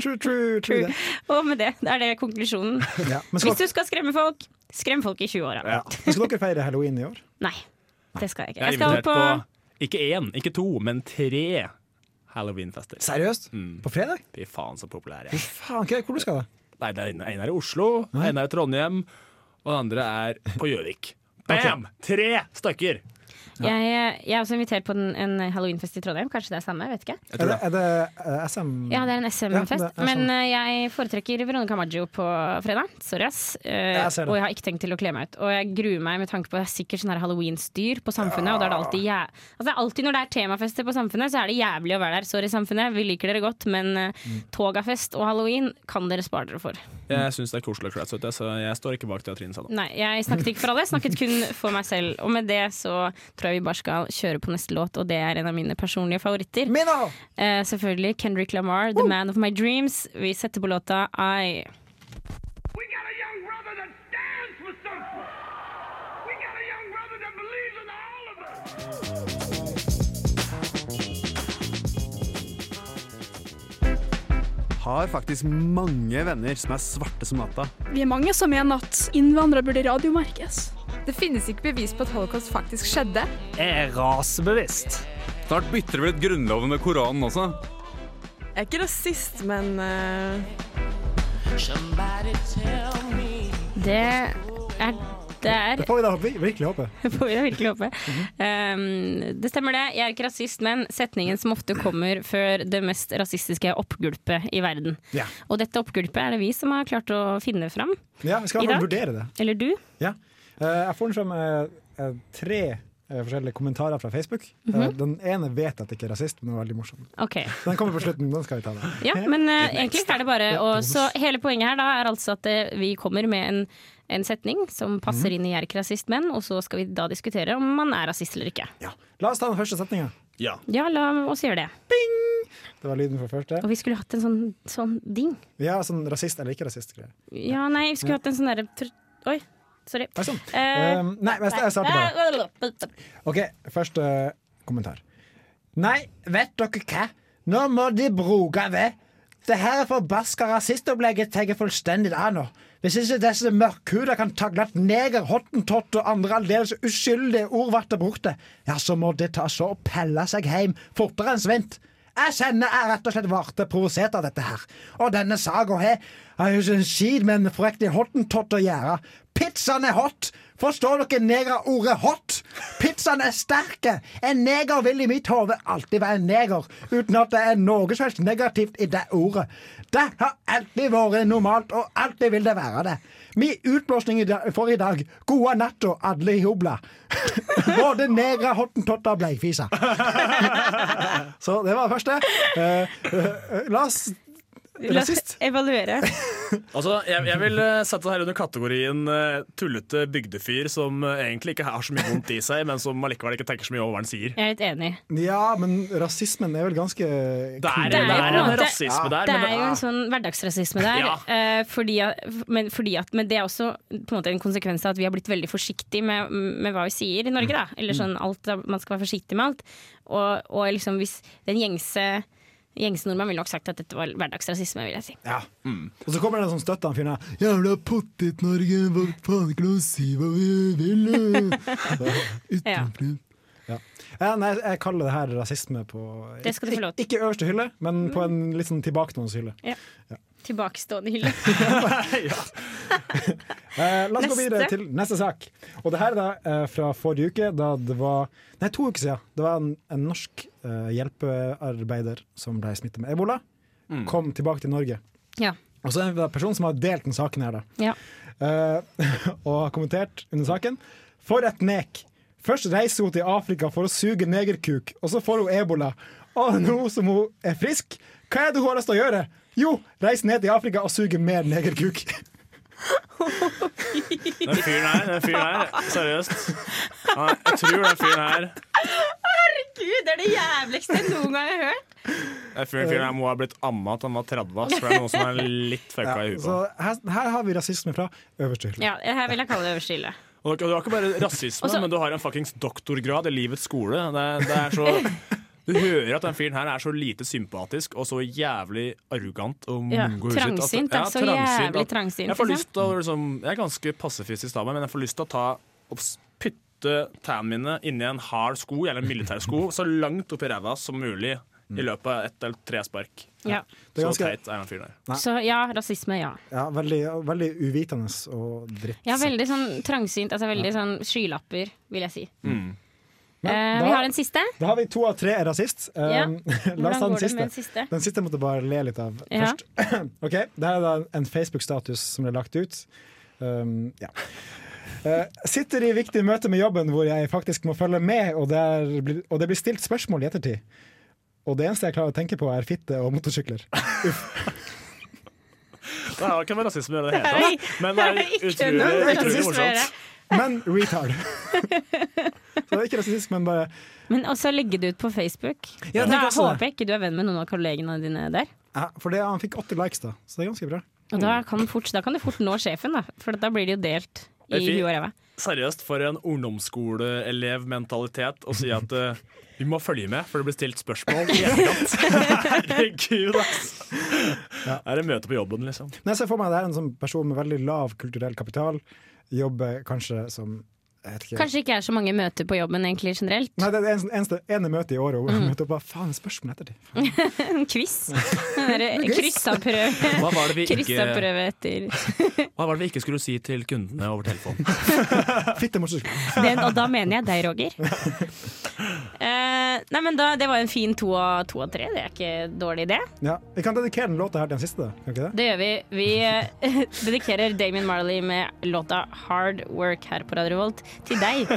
[SPEAKER 3] True, true, true det.
[SPEAKER 2] Og med det, da er det konklusjonen.
[SPEAKER 3] Ja. Men,
[SPEAKER 2] Hvis
[SPEAKER 3] skal,
[SPEAKER 2] du skal skremme folk, skrem folk i 20-åra.
[SPEAKER 3] men skal dere feire halloween i år?
[SPEAKER 2] Nei, det skal jeg ikke.
[SPEAKER 6] Jeg er
[SPEAKER 2] Jeg skal
[SPEAKER 6] invitert på ikke én, ikke to, men tre halloweenfester.
[SPEAKER 3] Seriøst? På fredag?
[SPEAKER 6] Fy faen, så populær jeg er.
[SPEAKER 3] Faen, hva- hvor du skal da?
[SPEAKER 6] Nei, det er en, en er i Oslo, en er i Trondheim, og den andre er på Gjøvik. Bam! Tre stykker!
[SPEAKER 2] på jeg, jeg er også invitert på en, en halloweenfest i Trondheim, kanskje det er samme, jeg vet ikke.
[SPEAKER 3] Er det, er det eh, SM?
[SPEAKER 2] Ja, det er en SM-fest.
[SPEAKER 3] Ja, det er
[SPEAKER 2] men
[SPEAKER 3] sånn.
[SPEAKER 2] eh, jeg foretrekker Veronica Maggio på fredag. Sorry, ass. Eh,
[SPEAKER 3] Jeg ser det.
[SPEAKER 2] og jeg har ikke tenkt til å kle meg ut. Og jeg gruer meg med tanke på at det er sikkert sånn her halloween-styr på samfunnet. Og da er det alltid, jæ altså, det er alltid når det er temafester på samfunnet, så er det jævlig å være der. Sorry, samfunnet, vi liker dere godt, men eh,
[SPEAKER 3] Mm.
[SPEAKER 2] togafest og halloween kan dere spare dere for.
[SPEAKER 6] Jeg syns det er koselig å kle seg ut, jeg, så jeg står ikke bak det sånn. Trine sa nå.
[SPEAKER 2] Nei, jeg snakket ikke for alle, jeg snakket kun for meg selv. Og med det så tror jeg vi bare skal kjøre på neste låt, og det er en av mine personlige favoritter.
[SPEAKER 3] Mina!
[SPEAKER 2] Eh, selvfølgelig Kendrick Lamar, The Man of My Dreams. Vi setter på låta I.
[SPEAKER 10] We got a young brother that stands for something. We got a young brother that believes in all of us.
[SPEAKER 9] Har faktisk mange venner som er svarte som natta.
[SPEAKER 10] Vi er mange som mener at innvandrere burde radiomerkes.
[SPEAKER 11] Det finnes ikke bevis på at holocaust faktisk skjedde.
[SPEAKER 9] Snart bytter vi ut Grunnloven med Koranen også.
[SPEAKER 11] Jeg er ikke rasist, men
[SPEAKER 2] Det er Det er
[SPEAKER 3] Det får vi da vi- virkelig håpe.
[SPEAKER 2] får vi da virkelig håpe. Um, det stemmer det, jeg er ikke rasist, men setningen som ofte kommer før det mest rasistiske oppgulpet i verden.
[SPEAKER 3] Ja.
[SPEAKER 2] Og dette oppgulpet er det vi som har klart å finne fram.
[SPEAKER 3] ja, vi skal
[SPEAKER 2] I
[SPEAKER 3] i hvert fall
[SPEAKER 2] dag?
[SPEAKER 3] vurdere det.
[SPEAKER 2] Eller du.
[SPEAKER 3] Ja. Eh, jeg får den som eh, eh, tre eh, forskjellige kommentarer fra Facebook. Eh,
[SPEAKER 2] Mhm.
[SPEAKER 3] den ene vet at jeg ikke er rasist, men den er veldig morsom.
[SPEAKER 2] Ok.
[SPEAKER 3] Den kommer på slutten, den skal vi ta da.
[SPEAKER 2] Ja, men eh, egentlig er det bare å Så hele poenget her da er altså at eh, vi kommer med en, en setning som passer
[SPEAKER 3] Mhm.
[SPEAKER 2] inn i 'jeg er ikke rasist, men', og så skal vi da diskutere om man er rasist eller ikke.
[SPEAKER 3] Ja. La oss ta den første setninga.
[SPEAKER 6] Ja.
[SPEAKER 2] Ja, la oss gjøre det.
[SPEAKER 3] Det var lyden fra første.
[SPEAKER 2] Og vi skulle hatt en sånn, sånn ding.
[SPEAKER 3] Ja, sånn rasist eller ikke rasist greier.
[SPEAKER 2] Ja, nei, vi skulle hatt en sånn derre tr- Oi, sorry. Eh,
[SPEAKER 3] Um, nei, men jeg- jeg starter OK, første kommentar. Nei, vet dere hva? Nå må de bruke ved. Det her forbaska rasistopplegget tar jeg fullstendig av nå. Hvis ikke disse mørkhuda kan tagle at neger, hottentott og andre aldeles uskyldige ord blir brukte, ja, så må de ta så og pelle seg hjem fortere enn svint. Jeg kjenner jeg rett og slett ble provosert av dette her. Og denne saga her har jo ikke en skid med en frektig hottentott å gjøre. Pizzaen er hot! Forstår dere negerordet hot? Pizzaen er sterke! En neger vil i mitt hode alltid være en neger, uten at det er noe som helst negativt i det ordet. Det har alltid vært normalt, og alltid vil det være det. Min utblåsning i dag- for i dag, gode natta, alle i hobla. Både negre, hottentotter og bleikfiser. Så det var det første. Eh, eh,
[SPEAKER 2] La
[SPEAKER 3] la oss
[SPEAKER 2] oss
[SPEAKER 3] Rasist.
[SPEAKER 2] evaluere.
[SPEAKER 6] Altså, jeg, jeg vil eh, sette det her under kategorien eh, tullete bygdefyr som eh, egentlig ikke har så mye vondt i seg, men som allikevel ikke tenker så mye over hva han sier.
[SPEAKER 2] Jeg er litt enig.
[SPEAKER 3] Ja, men rasismen er vel ganske Det
[SPEAKER 6] er- det er en rasisme der,
[SPEAKER 2] Det
[SPEAKER 6] men
[SPEAKER 2] er
[SPEAKER 6] det-
[SPEAKER 2] jo en sånn hverdagsrasisme der.
[SPEAKER 6] Ja.
[SPEAKER 2] eh, fordi at, men, fordi at, men det er også på en måte en konsekvens av at vi har blitt veldig forsiktige med, med hva vi sier i Norge. Da. Eller sånn alt, da- Man skal være forsiktig med alt. Og, og liksom hvis den gjengse Gjengse nordmann ville nok sagt at dette var hverdagsrasisme, vil jeg si.
[SPEAKER 3] Ja. Og så kommer det en som støtter han fyren her. Jævla pottit-Norge, hva faen kan du si hva vi vil?
[SPEAKER 2] Ja.
[SPEAKER 3] Ja. Ja, nei, jeg kaller det her rasisme på
[SPEAKER 2] Det skal du få lov
[SPEAKER 3] Ikke øverste hylle, men på en litt sånn tilbakestående hylle.
[SPEAKER 2] Ja. Tilbakestående hylle.
[SPEAKER 3] Eh, la oss gå
[SPEAKER 2] Neste.
[SPEAKER 3] videre til neste sak. Og det her er da eh, fra forrige uke, da det var Nei, to uker siden. Det var en, en norsk eh, hjelpearbeider som ble smittet med ebola. Kom tilbake til Norge.
[SPEAKER 2] Ja.
[SPEAKER 3] Og så er det en person som har delt den saken her, da.
[SPEAKER 2] Ja.
[SPEAKER 3] Eh, og har kommentert under saken. For et nek! Først reiser hun til Afrika for å suge negerkuk, og så får hun ebola. Og nå som hun er frisk, hva er det hun har lyst til å gjøre? Jo, reise ned til Afrika og suge mer negerkuk.
[SPEAKER 6] Den fyren her, den fyren her, seriøst. Ja, jeg tror den fyren her
[SPEAKER 2] Herregud, det er det jævligste jeg noen gang har hørt!
[SPEAKER 6] Den fyren fyren her må ha blitt amma til han var 30, ass, for det er noen som er litt fucka i huet.
[SPEAKER 3] Så
[SPEAKER 6] på.
[SPEAKER 3] her, her har vi rasisme fra øverste hylle.
[SPEAKER 2] Ja, her vil jeg kalle det øverste hylle.
[SPEAKER 6] Og du, du har ikke bare rasisme,
[SPEAKER 2] Altså-
[SPEAKER 6] men du har en fuckings doktorgrad i livets skole. Det, det er så Du hører at den fyren her er så lite sympatisk og så jævlig arrogant og
[SPEAKER 2] Ja,
[SPEAKER 6] mongohusete at-
[SPEAKER 2] trangsynt, altså,
[SPEAKER 6] trangsynt,
[SPEAKER 2] jævlig
[SPEAKER 6] at-
[SPEAKER 2] trangsynt,
[SPEAKER 6] Jeg, får
[SPEAKER 2] liksom.
[SPEAKER 6] lyst til å, liksom, jeg er ganske pasifistisk av meg, men jeg får lyst til å ta og s- putte tærne mine inni en hard sko, eller en militærsko, så langt oppi ræva som mulig i løpet av ett eller tre spark.
[SPEAKER 2] Ja.
[SPEAKER 3] Mm. Det er
[SPEAKER 6] Så
[SPEAKER 3] ganske-
[SPEAKER 6] teit er den fyren her.
[SPEAKER 3] Nei.
[SPEAKER 2] Så ja, rasisme, ja.
[SPEAKER 3] Ja, veldig, veldig uvitende og dritt.
[SPEAKER 2] Ja, veldig sånn trangsynt. Altså veldig sånn skylapper, vil jeg si.
[SPEAKER 3] Mm.
[SPEAKER 2] Eh, vi har en siste.
[SPEAKER 3] Da har vi to av tre er rasist. Um,
[SPEAKER 2] Ja.
[SPEAKER 3] La oss
[SPEAKER 2] Hvordan går
[SPEAKER 3] ta den
[SPEAKER 2] det
[SPEAKER 3] siste.
[SPEAKER 2] med den siste?
[SPEAKER 3] Den siste måtte jeg bare le litt av
[SPEAKER 2] Ja.
[SPEAKER 3] først. ok, Det her er da en Facebook-status som ble lagt ut. Um, ja. Eh, sitter i viktig møte med jobben hvor jeg faktisk må følge med, og det, er, blir- og det blir stilt spørsmål i ettertid. Og det eneste jeg klarer å tenke på, er fitte og motorsykler.
[SPEAKER 6] Det har ikke med rasisme å gjøre i det
[SPEAKER 2] Det
[SPEAKER 6] hele
[SPEAKER 2] er
[SPEAKER 6] tatt, men det er
[SPEAKER 2] ikke
[SPEAKER 6] utrolig,
[SPEAKER 2] noe med
[SPEAKER 6] utrolig
[SPEAKER 2] rasisme å gjøre.
[SPEAKER 6] morsomt.
[SPEAKER 3] Men retard. Så det er ikke rasistisk, men bare
[SPEAKER 2] Men også legge det ut på Facebook.
[SPEAKER 3] Ja,
[SPEAKER 2] da
[SPEAKER 3] tenk også det.
[SPEAKER 2] håper jeg ikke du er venn med noen av kollegene dine der.
[SPEAKER 3] ja, For det, han fikk 80 likes, da, så det er ganske bra.
[SPEAKER 2] Og
[SPEAKER 3] Mm.
[SPEAKER 2] da kan, fort, da kan du fort nå sjefen, da. For da blir det jo delt i
[SPEAKER 6] Det er fint.
[SPEAKER 2] huet og ræva.
[SPEAKER 6] Seriøst, for en ungdomsskoleelevmentalitet å si at eh, vi må følge med, for det blir stilt spørsmål i etterkant. Herregud, ass! Er det møte på jobben, liksom?
[SPEAKER 3] Men jeg ser for meg at det er en sånn person med veldig lav kulturell kapital. Jobber kanskje som jeg vet ikke.
[SPEAKER 2] Kanskje ikke er så mange møter på jobben egentlig generelt.
[SPEAKER 3] Nei, det er det eneste, eneste ene møtet i året hvor jeg møtte opp bare faen, spørsmål etter det.
[SPEAKER 2] En quiz. Den derre
[SPEAKER 3] Quiz.
[SPEAKER 2] Kryssa-prøve.
[SPEAKER 6] Hva var det vi ikke-
[SPEAKER 2] Kryssa-prøve etter
[SPEAKER 6] Hva var det vi ikke skulle si til kundene over telefonen?
[SPEAKER 3] Fitte motorsykkel.
[SPEAKER 2] den, Og da mener jeg deg, Roger. Eh, nei, men da, Det var en fin to av to av tre. Det er ikke dårlig, det.
[SPEAKER 3] Ja. Vi kan dedikere den låta her til den siste, kan vi ikke det?
[SPEAKER 2] Det gjør vi. Vi eh, dedikerer Damien Marley med låta 'Hard Work' her på Radio Revolt til deg.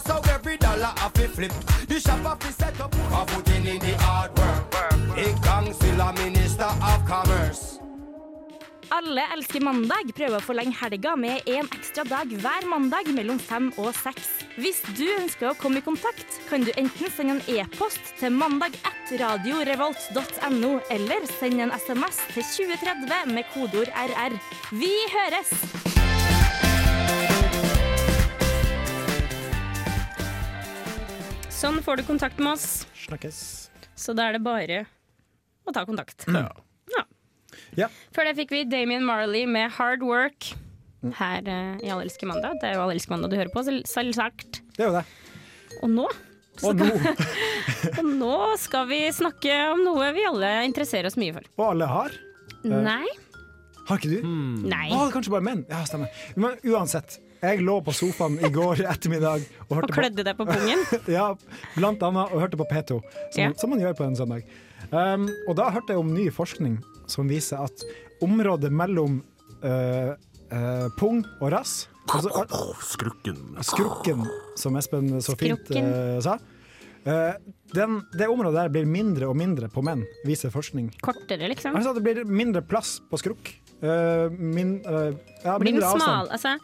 [SPEAKER 12] So every dollar I fi flip. The shop I fi set up. I put in in the hard work. Ik gang still a minister of commerce.
[SPEAKER 13] Alle elsker mandag. Prøv å forlenge helga med en ekstra dag hver mandag mellom fem og seks. Hvis du ønsker å komme i kontakt, kan du enten sende en e-post til mandag1radiorevolt.no, eller send en SMS til 2030 med kodeord RR. Vi høres!
[SPEAKER 2] Sånn får du kontakt med oss.
[SPEAKER 3] Snakkes.
[SPEAKER 2] Så da er det bare å ta kontakt. Ja.
[SPEAKER 3] Ja.
[SPEAKER 2] Før det fikk vi Damien Marley med 'Hard Work' her eh, i Alle elsker mandag. Det er jo Alle elsker mandag du hører på, selv- selvsagt.
[SPEAKER 3] Det er jo det.
[SPEAKER 2] Og nå
[SPEAKER 3] Og nå,
[SPEAKER 2] og nå skal vi snakke om noe vi alle interesserer oss mye for.
[SPEAKER 3] og alle har. Eh,
[SPEAKER 2] Nei.
[SPEAKER 3] Har ikke du?
[SPEAKER 2] Nei.
[SPEAKER 3] Å, det er kanskje bare menn. Ja, stemmer. Men uansett. Jeg lå på sofaen i går ettermiddag og hørte
[SPEAKER 2] Og klødde deg på pungen.
[SPEAKER 3] ja, blant annet og hørte på P2, som,
[SPEAKER 2] Ja.
[SPEAKER 3] som man gjør på en søndag. Um, og da hørte jeg om ny forskning som viser at området mellom øh, øh, pung og rass altså,
[SPEAKER 6] Skrukken.
[SPEAKER 3] Skrukken, som Espen så fint
[SPEAKER 6] Skrukken.
[SPEAKER 3] øh, sa. øh, den, det området der blir mindre og mindre på menn, viser forskning.
[SPEAKER 2] Kortere, liksom.
[SPEAKER 3] Altså at det blir mindre plass på skrukk. Øh, min, øh, ja,
[SPEAKER 2] blir den
[SPEAKER 3] mindre avstand.
[SPEAKER 2] smal, altså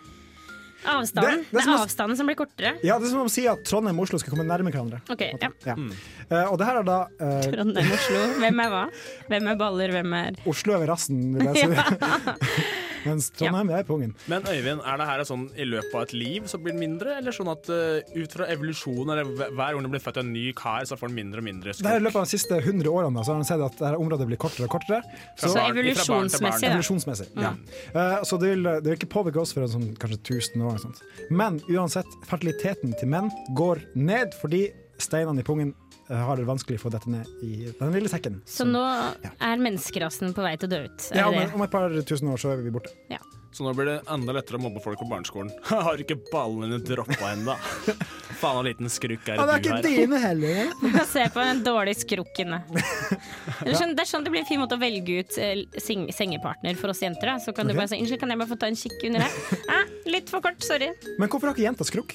[SPEAKER 2] Avstanden.
[SPEAKER 3] Det-
[SPEAKER 2] Det,
[SPEAKER 3] det er som
[SPEAKER 2] er
[SPEAKER 3] å-
[SPEAKER 2] avstanden som blir kortere.
[SPEAKER 3] Ja, det er som om å si at Trondheim og Oslo skal komme nærme hverandre.
[SPEAKER 2] Ok, ja.
[SPEAKER 3] Ja. Eh, og det her er da eh,
[SPEAKER 2] Trondheim, Oslo. Hvem er hva? Hvem er baller, hvem er altså,
[SPEAKER 3] Oslo er ved rassen, vil jeg si. Mens Trondheim det er pungen.
[SPEAKER 6] Men Øyvind, er det her sånn i løpet av et liv så blir den mindre, eller sånn at eh, ut fra evolusjon, eller hver- hver gang det blir født en ny kar, så får den mindre og mindre
[SPEAKER 3] Det her I
[SPEAKER 6] skrukk?
[SPEAKER 3] løpet av de siste 100 årene da, så har han sett at dette området blir kortere og kortere.
[SPEAKER 6] Fra barn- fra barn til barn.
[SPEAKER 3] Evolusjonsmessig,
[SPEAKER 2] Mm.
[SPEAKER 3] ja. Eh, så det vil, det vil ikke påvirke oss for en sånn, kanskje 1000 år. eller Sånt. Men uansett, fertiliteten til menn går ned fordi steinene i pungen eh, har det vanskelig for å dette ned i den lille sekken.
[SPEAKER 2] Så nå er menneskerasen på vei til å dø ut. Er
[SPEAKER 3] Ja, om,
[SPEAKER 2] det?
[SPEAKER 3] om et par tusen år så er vi borte.
[SPEAKER 2] Ja.
[SPEAKER 6] Så nå blir det enda lettere å mobbe folk på barneskolen. Har ikke ballene dine droppa ennå? Faen, en liten skrukk er det du her.
[SPEAKER 3] heller.
[SPEAKER 2] Se på den dårlige skrukken. da. Det er sånn det, er sånn det blir en fin måte å velge ut eh, seng sengepartner for oss jenter. Da. Så kan
[SPEAKER 3] Ok.
[SPEAKER 2] du bare si 'unnskyld, kan jeg bare få ta en kikk under her?' Ah, litt for kort, sorry.
[SPEAKER 3] Men hvorfor har ikke jenter skrukk?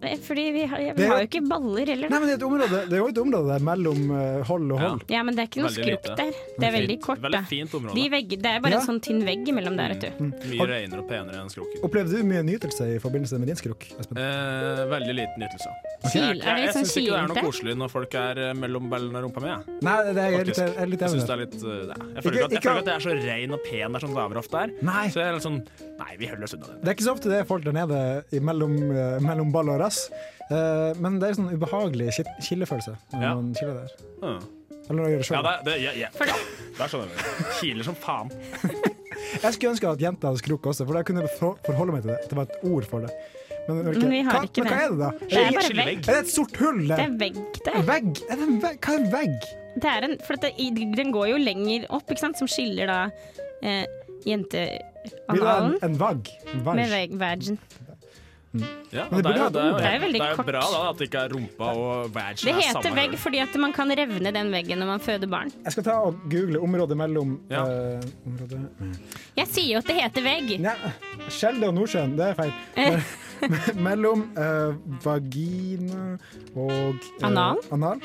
[SPEAKER 2] Eh, Fordi vi har,
[SPEAKER 3] Det
[SPEAKER 2] vi
[SPEAKER 3] er
[SPEAKER 2] har
[SPEAKER 3] jo-
[SPEAKER 2] jo ikke baller heller.
[SPEAKER 3] Nei, men det er, et område, det er jo et område der mellom eh, hold og hold.
[SPEAKER 2] Ja, men det er ikke noe
[SPEAKER 3] Veldig
[SPEAKER 2] skrukk
[SPEAKER 3] lite.
[SPEAKER 2] der. Det er
[SPEAKER 3] Veldig
[SPEAKER 2] veldig
[SPEAKER 3] fint.
[SPEAKER 2] kort.
[SPEAKER 3] Veldig
[SPEAKER 2] da.
[SPEAKER 3] fint område.
[SPEAKER 2] De vegge, det er bare
[SPEAKER 3] Ja.
[SPEAKER 2] en
[SPEAKER 3] Mm.
[SPEAKER 2] sånn tynn vegg mellom der, vet du.
[SPEAKER 6] Mye renere og penere enn skrukken.
[SPEAKER 3] Opplevde du mye nytelse i forbindelse med din skrukk? Espen?
[SPEAKER 6] Eh, veldig liten nytelse.
[SPEAKER 3] Kil-
[SPEAKER 6] Jeg,
[SPEAKER 3] er
[SPEAKER 6] jeg,
[SPEAKER 3] det
[SPEAKER 6] jeg
[SPEAKER 3] sånn
[SPEAKER 6] syns ikke det er noe
[SPEAKER 3] kilete?
[SPEAKER 6] koselig når folk er eh, mellom ballene og rumpa mi. Jeg,
[SPEAKER 3] Nei, det er jeg litt,
[SPEAKER 6] Faktisk.
[SPEAKER 3] jeg er litt
[SPEAKER 6] jeg,
[SPEAKER 3] enig med
[SPEAKER 6] synes det er
[SPEAKER 3] deg.
[SPEAKER 6] litt, eh, nei. jeg
[SPEAKER 3] Ikke-
[SPEAKER 6] føler ikke at,
[SPEAKER 3] ikke-
[SPEAKER 6] jeg føler ikke at jeg er så ren og pen der som damer ofte er. Så jeg er litt sånn Nei, vi holder oss unna det.
[SPEAKER 3] Det er ikke så ofte det er folk der nede i mellom, eh, mellom ball og rass, eh, men det er en sånn ubehagelig kil- killefølelse når
[SPEAKER 6] Ja.
[SPEAKER 3] man kiler der.
[SPEAKER 6] Ah.
[SPEAKER 3] Eller når man gjør det
[SPEAKER 6] Ja,
[SPEAKER 3] sjøl.
[SPEAKER 6] det, det, ja, ja. ja, der skjønner jeg det. Kiler som faen.
[SPEAKER 3] Jeg skulle ønske at jenter hadde skrukk også, for da kunne jeg for- forholde meg til det. At det var et ord for det. Men, det er
[SPEAKER 2] Men vi har
[SPEAKER 3] hva,
[SPEAKER 2] ikke
[SPEAKER 3] men
[SPEAKER 2] det.
[SPEAKER 3] hva er det, da?
[SPEAKER 2] Det er bare vegg.
[SPEAKER 3] Er det et sort hull
[SPEAKER 2] Det
[SPEAKER 3] der?
[SPEAKER 2] er vegg der.
[SPEAKER 3] Vegg? Er det en vegg? Hva er en vegg?
[SPEAKER 2] Det er en, for det, den går jo lenger opp, ikke sant, som skiller da eh,
[SPEAKER 3] Vil du ha
[SPEAKER 2] jenteanalen
[SPEAKER 3] en, en vagg? En vagg?
[SPEAKER 2] med veg- vagin.
[SPEAKER 6] Ja,
[SPEAKER 3] Men det
[SPEAKER 6] og det, er jo,
[SPEAKER 3] burde
[SPEAKER 6] det,
[SPEAKER 3] ha et
[SPEAKER 6] er
[SPEAKER 3] ord.
[SPEAKER 6] jo,
[SPEAKER 2] Det er jo veldig
[SPEAKER 6] det er jo
[SPEAKER 2] kort.
[SPEAKER 6] bra da, at det ikke er rumpa og vagina
[SPEAKER 2] Det
[SPEAKER 6] er
[SPEAKER 2] heter
[SPEAKER 6] samme
[SPEAKER 2] vegg
[SPEAKER 6] hull.
[SPEAKER 2] fordi at man kan revne den veggen når man føder barn.
[SPEAKER 3] Jeg skal ta og google området mellom eh, området.
[SPEAKER 2] Jeg sier jo at det heter vegg.
[SPEAKER 3] Skjelde og Nordsjøen, det er feil.
[SPEAKER 2] Eh.
[SPEAKER 3] Me- mellom eh, vagina og eh,
[SPEAKER 2] Anal?
[SPEAKER 3] anal.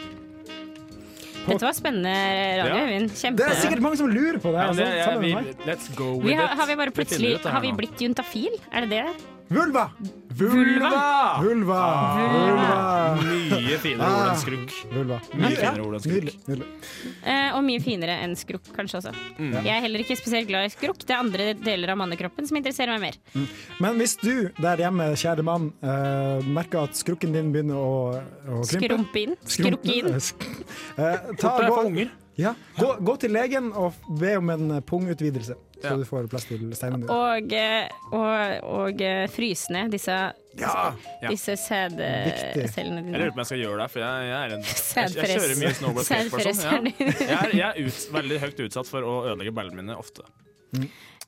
[SPEAKER 2] Dette var spennende radio,
[SPEAKER 3] Ja.
[SPEAKER 2] Øyvind.
[SPEAKER 3] Det er sikkert
[SPEAKER 2] Kjempe.
[SPEAKER 3] mange som lurer på det.
[SPEAKER 6] Ja, men
[SPEAKER 3] altså,
[SPEAKER 6] det- ja,
[SPEAKER 3] sammen med
[SPEAKER 6] vi-
[SPEAKER 3] meg.
[SPEAKER 6] Let's go with
[SPEAKER 2] Vi
[SPEAKER 6] it.
[SPEAKER 2] har, har vi bare
[SPEAKER 6] finner
[SPEAKER 2] plutselig
[SPEAKER 6] ut det her
[SPEAKER 2] Har vi
[SPEAKER 6] nå.
[SPEAKER 2] blitt juntafil? Er det det?
[SPEAKER 3] Vulva!
[SPEAKER 2] Vulva!
[SPEAKER 3] Vulva! Vulva!
[SPEAKER 6] Mye finere ord enn
[SPEAKER 3] Ah,
[SPEAKER 6] skrukk.
[SPEAKER 3] Vulva.
[SPEAKER 6] Mye finere ord enn skrukk.
[SPEAKER 2] Eh, og mye finere enn skrukk, kanskje også.
[SPEAKER 3] Mm.
[SPEAKER 2] Jeg er heller ikke spesielt glad i skrukk. Det er andre deler av mannekroppen som interesserer meg mer.
[SPEAKER 3] Mm. Men hvis du der hjemme, kjære mann, eh, merker at skrukken din begynner å, å krympe
[SPEAKER 2] Skrumpe inn.
[SPEAKER 3] Skrumpe-
[SPEAKER 2] Skrukke inn.
[SPEAKER 3] Eh, sk- eh, ta,
[SPEAKER 2] Fort deg
[SPEAKER 3] gå,
[SPEAKER 2] for unger.
[SPEAKER 3] Ja. Gå, gå til legen og be om en eh, pungutvidelse, så
[SPEAKER 2] Ja.
[SPEAKER 3] du får plass til steinene dine.
[SPEAKER 2] Og, eh, og, og eh, fryse ned disse, disse sædcellene
[SPEAKER 6] Jeg
[SPEAKER 2] dine.
[SPEAKER 6] lurer på om jeg skal gjøre det, for jeg, jeg er en jeg, jeg
[SPEAKER 2] Sædpress.
[SPEAKER 6] kjører mye snowboard
[SPEAKER 2] Sædpress er
[SPEAKER 6] skateboard-person.
[SPEAKER 2] det.
[SPEAKER 6] Ja. Jeg er, jeg er ut, veldig høyt utsatt for å ødelegge ballene mine ofte.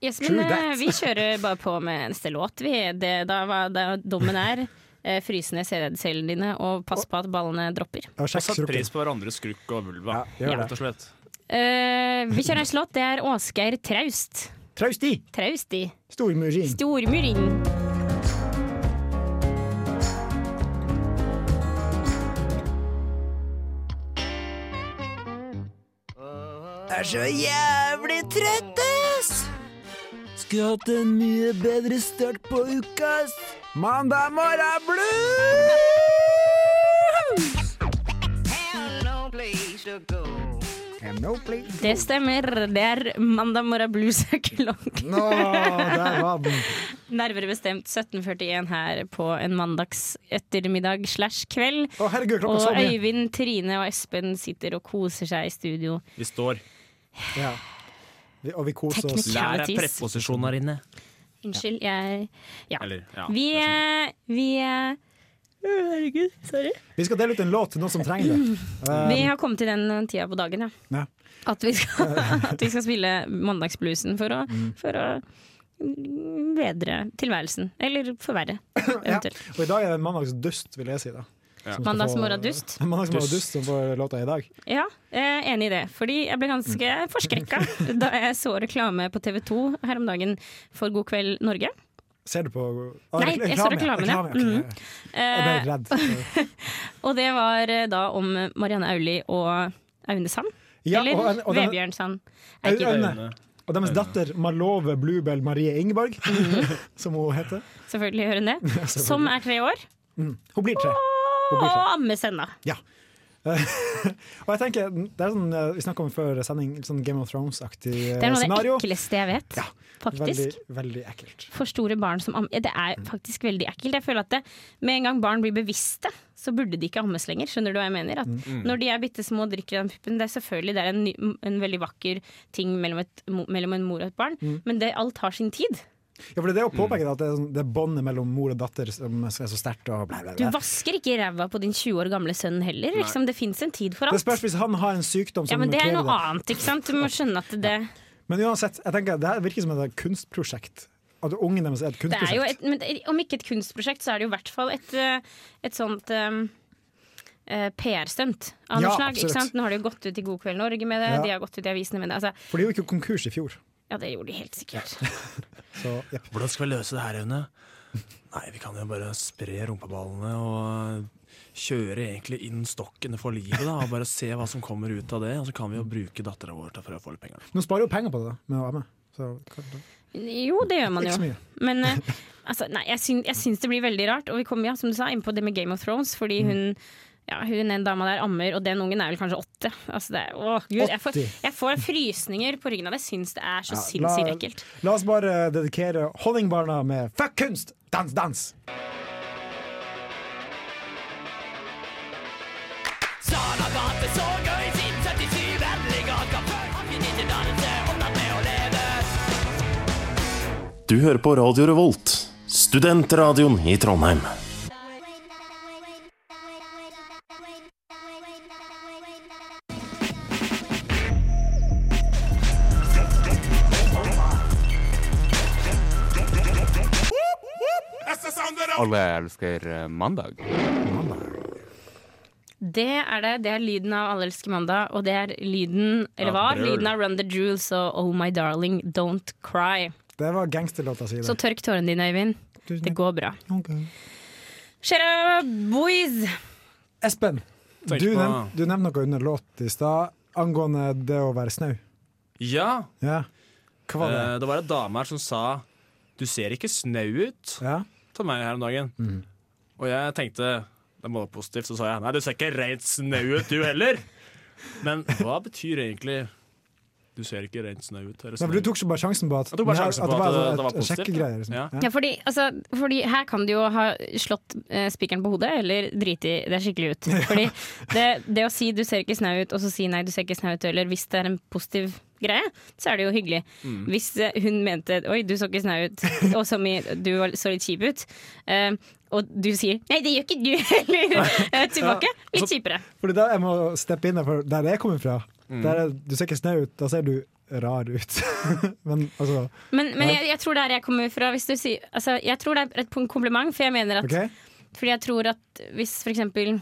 [SPEAKER 2] Yes,
[SPEAKER 6] True
[SPEAKER 2] men eh,
[SPEAKER 6] that.
[SPEAKER 2] vi kjører bare på med neste låt. Vi, det, da, var- da dommen er eh, fryse ned sædcellene dine, og pass på at ballene dropper.
[SPEAKER 6] Og satt pris på hverandres skrukk og vulva,
[SPEAKER 2] gjør det.
[SPEAKER 6] rett og slett.
[SPEAKER 2] Eh, vi kjører en slått, det er Åsgeir Traust.
[SPEAKER 3] Trausti.
[SPEAKER 2] Trausti.
[SPEAKER 3] Stormurin.
[SPEAKER 2] Stormurin.
[SPEAKER 14] er så jævlig trøtt, ass! Skulle hatt en mye bedre start på uka, ass. Mandag morgen blues!
[SPEAKER 2] Det stemmer. Det er mandag morgen blues er klokken.
[SPEAKER 3] Nå, der var den.
[SPEAKER 2] Nærmere bestemt 17.41 her på en mandags ettermiddag slash kveld.
[SPEAKER 3] Å, herregud, klokka
[SPEAKER 2] og
[SPEAKER 3] så mye.
[SPEAKER 2] Øyvind, Trine og Espen sitter og koser seg i studio.
[SPEAKER 6] Vi står.
[SPEAKER 3] Ja. Vi, og vi koser oss.
[SPEAKER 6] Lær deg preposisjoner inne.
[SPEAKER 2] Unnskyld, jeg Ja.
[SPEAKER 6] Eller, ja.
[SPEAKER 2] Vi, eh, vi eh, å, Herregud, sorry.
[SPEAKER 3] Vi skal dele ut en låt til noen som trenger det. Um,
[SPEAKER 2] Vi har kommet til den tida på dagen, ja.
[SPEAKER 3] ja.
[SPEAKER 2] At vi skal, at vi skal spille mandagsbluesen for å, for å bedre tilværelsen. Eller forverre.
[SPEAKER 3] Og i dag er det mandagsdust, vil jeg si. da Som skal
[SPEAKER 2] Mandagsmorgendust.
[SPEAKER 3] få- Mandagsmorgendust som får låta i dag.
[SPEAKER 2] Ja, jeg er enig i det. Fordi jeg ble ganske forskrekka da jeg så reklame på TV 2 her om dagen for God kveld Norge.
[SPEAKER 3] Ser du på Å,
[SPEAKER 2] Nei, jeg så reklamen, ja.
[SPEAKER 3] ok.
[SPEAKER 2] Mm.
[SPEAKER 3] Jeg
[SPEAKER 2] Eh,
[SPEAKER 3] ble redd.
[SPEAKER 2] og det var eh, da om Marianne Aulie og Aune Sand.
[SPEAKER 3] Ja,
[SPEAKER 2] Eller
[SPEAKER 3] og en- og den-
[SPEAKER 2] Vebjørn Sand. Er ikke det.
[SPEAKER 3] Aune. Og deres datter Malove Bluebell Marie Ingeborg,
[SPEAKER 2] Mhm.
[SPEAKER 3] som hun heter.
[SPEAKER 2] Selvfølgelig gjør hun det.
[SPEAKER 3] selvfølgelig.
[SPEAKER 2] Som er tre år.
[SPEAKER 3] Mm. Hun blir tre. Hun
[SPEAKER 2] Og
[SPEAKER 3] blir tre.
[SPEAKER 2] ammes ennå.
[SPEAKER 3] Ja. Eh, og jeg tenker, det er sånn, eh, Vi snakka om før sending, litt sånn Game of Thrones-aktig eh,
[SPEAKER 2] Det er noe av det
[SPEAKER 3] scenario.
[SPEAKER 2] ekleste jeg vet. Faktisk.
[SPEAKER 3] Veldig, Mm. veldig ekkelt.
[SPEAKER 2] For store barn som ammer. Det er faktisk veldig ekkelt. Jeg føler at det, Med en gang barn blir bevisste, så burde de ikke ammes lenger. Skjønner du hva jeg mener? At
[SPEAKER 13] Mm.
[SPEAKER 2] Når de er bitte små og drikker den puppen, det er selvfølgelig det er en, ny- en veldig vakker ting mellom, et, mo- mellom en mor og et barn,
[SPEAKER 3] Mm.
[SPEAKER 2] men det, alt har sin tid.
[SPEAKER 3] Ja, for Det er det å
[SPEAKER 2] Mm.
[SPEAKER 3] påpeke at det er, sånn, det er båndet mellom mor og datter som er så sterkt. og bla, bla,
[SPEAKER 2] Du
[SPEAKER 3] bla.
[SPEAKER 2] vasker ikke ræva på din 20 år gamle sønn heller.
[SPEAKER 3] Nei.
[SPEAKER 2] Liksom, det fins en tid for
[SPEAKER 3] Det
[SPEAKER 2] alt.
[SPEAKER 3] spørs hvis han har en sykdom
[SPEAKER 2] Ja,
[SPEAKER 3] som
[SPEAKER 2] men det er
[SPEAKER 3] krever
[SPEAKER 2] noe annet, ikke sant. Du må skjønne at det
[SPEAKER 3] Men uansett, jeg tenker, det her virker som et kunstprosjekt. At ungen deres er et
[SPEAKER 2] Det er jo
[SPEAKER 3] kunstprosjekt.
[SPEAKER 2] et, men det- om ikke et kunstprosjekt, så er det jo i hvert fall et, eh, et sånt um, eh, PR-stunt av noe
[SPEAKER 3] Ja,
[SPEAKER 2] slag. Ikke
[SPEAKER 3] absolutt.
[SPEAKER 2] sant? Nå har de jo gått ut i God kveld Norge med det,
[SPEAKER 3] Ja.
[SPEAKER 2] de har gått ut i avisene med det. Altså,
[SPEAKER 3] For de gikk jo konkurs i fjor.
[SPEAKER 2] ja, det gjorde de helt sikkert.
[SPEAKER 3] Så, ja.
[SPEAKER 6] Hvordan skal vi løse det her, Aune? Nei, vi kan jo bare spre rumpeballene og kjøre egentlig inn stokkene for livet, da. Og bare se hva som kommer ut av det. Og så kan vi jo bruke dattera vår til for å få litt penger.
[SPEAKER 3] Nå sparer jo penger på det da, med å være med. Så, hva-
[SPEAKER 2] Jo, det gjør man
[SPEAKER 3] Ikke så
[SPEAKER 2] jo.
[SPEAKER 3] mye.
[SPEAKER 2] Men eh, altså, nei, jeg, syns, jeg syns det blir veldig rart. Og vi kommer ja, som du sa, inn på det med Game of Thrones, fordi
[SPEAKER 3] Mm.
[SPEAKER 2] hun ja, hun en dama der ammer, og den ungen er vel kanskje åtte. Altså, det er, åh, Gud, jeg, får,
[SPEAKER 3] 80.
[SPEAKER 2] jeg får frysninger på ryggen av det. Jeg syns det er så
[SPEAKER 3] Ja,
[SPEAKER 2] sinnssykt ekkelt.
[SPEAKER 3] La oss bare dedikere Honningbarna med Fuck kunst! Dans, dans!
[SPEAKER 10] Sal har hatt det så gøy siden 77 Endelig har han før Han finner ikke dannelse og latt med å leve
[SPEAKER 15] Du hører på Radio Revolt, studentradioen i Trondheim.
[SPEAKER 16] Alle elsker eh, mandag.
[SPEAKER 2] Det er det. Det er lyden av Alle elsker mandag, og det er lyden, eller
[SPEAKER 3] Ja,
[SPEAKER 2] var,
[SPEAKER 3] brøl.
[SPEAKER 2] lyden av Run the Jewels og Oh My Darling Don't Cry.
[SPEAKER 3] Det var gangsterlåta si. det.
[SPEAKER 2] Så tørk tårene dine, Øyvind. Det går bra.
[SPEAKER 3] Ok.
[SPEAKER 2] Kjære boys!
[SPEAKER 3] Espen,
[SPEAKER 6] Tenk
[SPEAKER 3] du,
[SPEAKER 6] på-
[SPEAKER 3] nev du nevnte noe under låt i stad angående det å være snau.
[SPEAKER 6] Ja,
[SPEAKER 3] Ja. Hva var det?
[SPEAKER 6] Eh, det var en dame her som sa Du ser ikke snau ut Til meg her om dagen Og jeg tenkte Det må være positivt Så sa jeg Nei, du ser ikke rent snau ut du heller Men hva betyr egentlig Du ser ikke rent snau ut.
[SPEAKER 3] Nei, for du tok ikke bare sjansen på at,
[SPEAKER 6] Jeg tok bare
[SPEAKER 3] Nei,
[SPEAKER 6] sjansen
[SPEAKER 3] at
[SPEAKER 6] på
[SPEAKER 3] det var,
[SPEAKER 6] at det-
[SPEAKER 3] et-
[SPEAKER 6] det var
[SPEAKER 3] et
[SPEAKER 6] positivt,
[SPEAKER 3] sjekkegreier,
[SPEAKER 6] ja.
[SPEAKER 3] liksom.
[SPEAKER 6] Ja.
[SPEAKER 2] Ja, fordi, altså, fordi her kan du jo ha slått eh, spikeren på hodet, eller driti det skikkelig ut. Fordi det, det å si 'du ser ikke snau ut', og så si 'nei, du ser ikke snau ut', eller hvis det er en positiv greie, så er det jo hyggelig.
[SPEAKER 13] Mm.
[SPEAKER 2] Hvis eh, hun mente 'oi, du så ikke snau ut', og som i 'du var- så litt kjip ut', eh, og du sier 'nei, det gjør ikke du heller', eh, tilbake, litt kjipere.
[SPEAKER 3] Fordi da jeg må steppe inn der, for der jeg kommer fra.
[SPEAKER 6] Mm.
[SPEAKER 3] Der er, du ser ikke snau ut, da ser du rar ut. men altså
[SPEAKER 2] Men, men jeg, jeg tror der jeg kommer fra hvis du sier, altså, Jeg tror det er et kompliment, for jeg mener at
[SPEAKER 3] Ok.
[SPEAKER 2] Fordi jeg tror at hvis for eksempel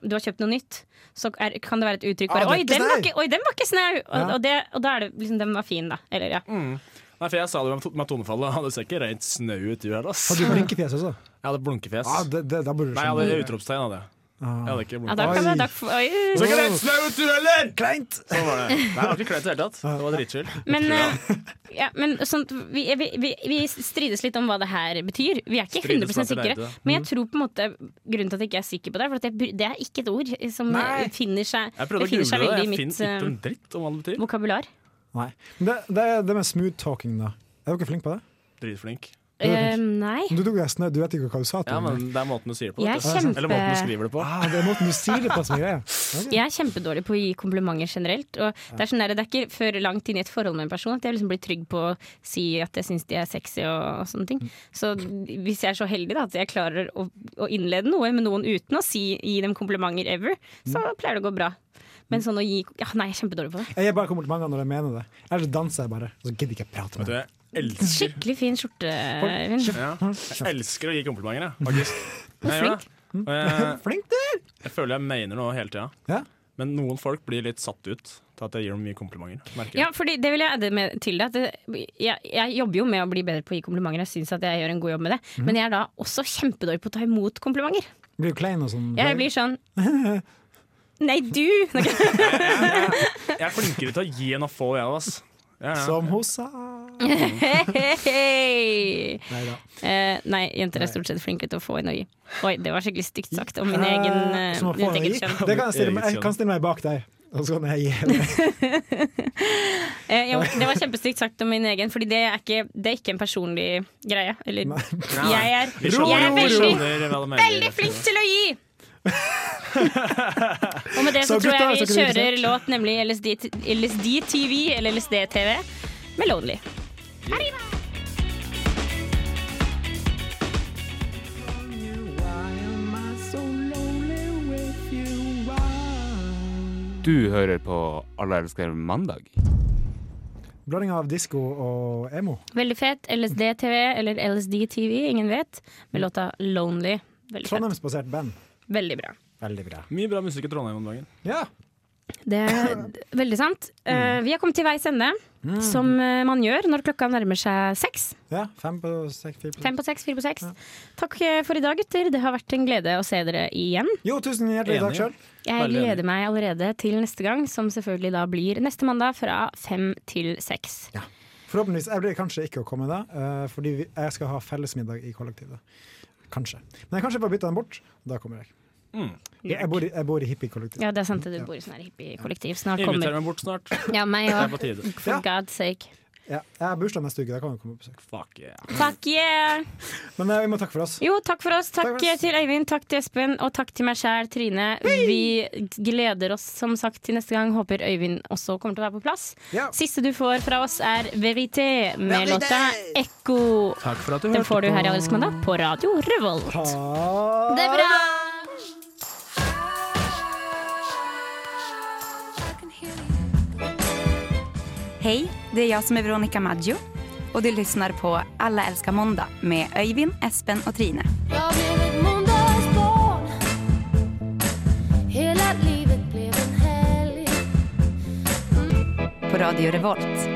[SPEAKER 2] du har kjøpt noe nytt, så er, kan det være et uttrykk
[SPEAKER 6] Ah,
[SPEAKER 2] bare
[SPEAKER 6] det er
[SPEAKER 2] oi,
[SPEAKER 6] ikke
[SPEAKER 2] den var
[SPEAKER 6] snau!»
[SPEAKER 2] ikke, oi, den var ikke snau! Og,
[SPEAKER 6] Ja. Mm.
[SPEAKER 2] og, det, og da er det liksom Den var fin, da. Eller ja.
[SPEAKER 6] Nei, for jeg sa det jo med tonefallet. Han ser ikke rent snau ut, du heller. ass.
[SPEAKER 3] Har du blinkefjes også?
[SPEAKER 6] Jeg hadde blunkefjes.
[SPEAKER 3] Ja, det, det, Ah. da burde du
[SPEAKER 6] Nei, jeg hadde
[SPEAKER 3] skjønne.
[SPEAKER 6] utropstegn av sånn det. Jeg hadde ikke
[SPEAKER 2] ja da kan
[SPEAKER 6] blunkefjes.
[SPEAKER 2] det, da, oi.
[SPEAKER 6] Så ikke rent snau ut, du heller!
[SPEAKER 3] Kleint!
[SPEAKER 6] Sånn var det. Nei, det var ikke kleint i det hele tatt. Det var dritchill.
[SPEAKER 2] Men, eh, ja, men sånt, vi, vi, vi, vi strides litt om hva det her betyr. Vi er ikke
[SPEAKER 6] Strides
[SPEAKER 2] 100
[SPEAKER 6] Mm. blant de
[SPEAKER 2] sikre.
[SPEAKER 6] lærde.
[SPEAKER 2] Men jeg tror på en måte grunnen til at jeg ikke er sikker på det, er for at jeg, br- det er ikke et ord som
[SPEAKER 6] Nei.
[SPEAKER 2] finner seg,
[SPEAKER 6] Jeg prøvde å
[SPEAKER 2] det finner seg
[SPEAKER 6] google det.
[SPEAKER 2] veldig i
[SPEAKER 6] Jeg
[SPEAKER 2] mitt
[SPEAKER 6] finner ikke en
[SPEAKER 2] eh,
[SPEAKER 6] dritt om hva det betyr.
[SPEAKER 2] vokabular.
[SPEAKER 3] Nei. Men det, det, er det med smooth talking, da. Er dere flinke på det?
[SPEAKER 6] Dritflink.
[SPEAKER 3] Du er
[SPEAKER 2] Eh,
[SPEAKER 3] flink.
[SPEAKER 2] nei.
[SPEAKER 3] Men Du tok deg snø, du vet ikke hva du sa til
[SPEAKER 6] Ja,
[SPEAKER 3] meg.
[SPEAKER 6] men det er måten du sier det på.
[SPEAKER 2] Jeg
[SPEAKER 6] vet du.
[SPEAKER 2] er kjempe-
[SPEAKER 6] Eller måten du skriver det på.
[SPEAKER 3] Ah, det er måten du sier det på som er greia. Ok.
[SPEAKER 2] Jeg er kjempedårlig på å gi komplimenter generelt. Og det, er sånn der, det er ikke før langt inn i et forhold med en person at jeg liksom blir trygg på å si at jeg syns de er sexy og, og sånne ting. Så hvis jeg er så heldig da, at jeg klarer å, å innlede noe med noen uten å si, gi dem komplimenter ever, så pleier det å gå bra. Men sånn å gi ja, Nei, jeg er kjempedårlig på det.
[SPEAKER 3] Jeg gir bare komplimenter når jeg mener det. Ellers danser jeg bare. Og så gidder jeg ikke jeg prate med
[SPEAKER 6] deg. Elsker.
[SPEAKER 2] Skikkelig fin skjorte, Vin.
[SPEAKER 6] Ja. Jeg elsker å gi komplimenter, jeg, faktisk. Jeg gjør
[SPEAKER 2] Flink.
[SPEAKER 6] det. Og jeg- Jeg føler jeg mener noe hele tida. Men noen folk blir litt satt ut til at jeg gir dem mye komplimenter. Merker jeg.
[SPEAKER 2] Ja, fordi det vil jeg adde med til deg. at det- Jeg, jeg jobber jo med å bli bedre på å gi komplimenter. Jeg syns at jeg gjør en god jobb med det.
[SPEAKER 3] Mhm.
[SPEAKER 2] Men jeg er da også kjempedårlig på å ta imot komplimenter.
[SPEAKER 3] Blir du klein og sånn?
[SPEAKER 2] Jeg blir sånn Nei, du!
[SPEAKER 6] Jeg er flinkere til å gi enn å få, jeg. Ass. Ja, ja.
[SPEAKER 2] sånn.
[SPEAKER 3] Som hun sa.
[SPEAKER 2] Hei!
[SPEAKER 3] Nei da.
[SPEAKER 2] Eh, nei, jenter er stort sett flinke til å få inn og gi. Oi, det var skikkelig stygt sagt om min
[SPEAKER 3] Eh,
[SPEAKER 2] egen, eh,
[SPEAKER 3] som å få
[SPEAKER 2] mitt eget
[SPEAKER 3] gi.
[SPEAKER 2] kjønn.
[SPEAKER 3] Det kan jeg stille meg, jeg kan stille meg bak deg, og så kan jeg gi henne.
[SPEAKER 2] Eh, jo, det var kjempestygt sagt om min egen, Fordi det er ikke, det er ikke en personlig greie. Eller jeg er,
[SPEAKER 6] Vi skjønner-
[SPEAKER 2] jeg er
[SPEAKER 6] vi
[SPEAKER 2] veldig,
[SPEAKER 6] skjønner hva du mener.
[SPEAKER 2] veldig flink til å gi! Og med det så,
[SPEAKER 6] Så
[SPEAKER 2] tror
[SPEAKER 6] gutta,
[SPEAKER 2] jeg vi
[SPEAKER 6] så kunne du
[SPEAKER 2] kjører
[SPEAKER 6] ikke
[SPEAKER 2] låt, nemlig LSD, LSD TV, eller LSD TV, med Lonely.
[SPEAKER 16] Du hører på Alle elsker mandag.
[SPEAKER 3] Blanding av disko og emo.
[SPEAKER 2] Veldig fet. LSD TV, eller LSD TV, ingen vet, med låta Lonely. Veldig fett.
[SPEAKER 3] Trondheimsbasert band.
[SPEAKER 2] Veldig bra.
[SPEAKER 3] Veldig bra.
[SPEAKER 6] Mye bra musikk i Trondheim om dagen.
[SPEAKER 3] Ja.
[SPEAKER 2] Det er veldig sant. Eh, vi har kommet til veis ende,
[SPEAKER 3] Mm.
[SPEAKER 2] som eh, man gjør når klokka nærmer seg seks.
[SPEAKER 3] Ja, fem på seks, fire på
[SPEAKER 2] Fem på seks, fire på seks. Takk eh, for i dag, gutter. Det har vært en glede å se dere igjen.
[SPEAKER 3] Jo, tusen hjertelig takk selv.
[SPEAKER 2] Jeg
[SPEAKER 3] Veldig enig.
[SPEAKER 2] gleder meg allerede til neste gang, som selvfølgelig da blir neste mandag fra fem til seks.
[SPEAKER 3] Forhåpentligvis. Jeg blir kanskje ikke å komme da, eh, fordi vi- jeg skal ha fellesmiddag i kollektivet. Kanskje. Men jeg kanskje bare bytter den bort, og da kommer jeg. Jeg bor i, jeg bor i hippiekollektiv.
[SPEAKER 2] Ja, det er sant at du bor i sånn her hippiekollektiv. Snart
[SPEAKER 6] Inviter
[SPEAKER 2] kommer
[SPEAKER 6] meg bort snart.
[SPEAKER 2] Ja, meg
[SPEAKER 6] Det er
[SPEAKER 2] òg.
[SPEAKER 6] på tide.
[SPEAKER 2] For God's sake.
[SPEAKER 3] Ja, jeg har bursdag neste uke, da kan jeg komme på besøk.
[SPEAKER 6] Fuck yeah.
[SPEAKER 2] Fuck yeah!
[SPEAKER 3] Men eh, vi må takke for oss.
[SPEAKER 2] Jo, takk for oss. Takk, eh, til Øyvind, takk til Espen, og takk til meg sjæl, Trine. Vi gleder oss som sagt til neste gang. Håper Øyvind også kommer til å være på plass. Siste du får fra oss, er Verité med
[SPEAKER 13] Verité!
[SPEAKER 2] låta Ekko.
[SPEAKER 6] Takk for at
[SPEAKER 2] Den får du her i Allsmandag på Radio Revolt. Det er bra!
[SPEAKER 17] Hej, det är jag som är Veronica Maggio och du lyssnar på Alla älskar måndag med Öyvind, Espen och Trine.
[SPEAKER 7] Jag blev ett måndagsbarn Hela livet blev en helg
[SPEAKER 17] På Radio Revolt.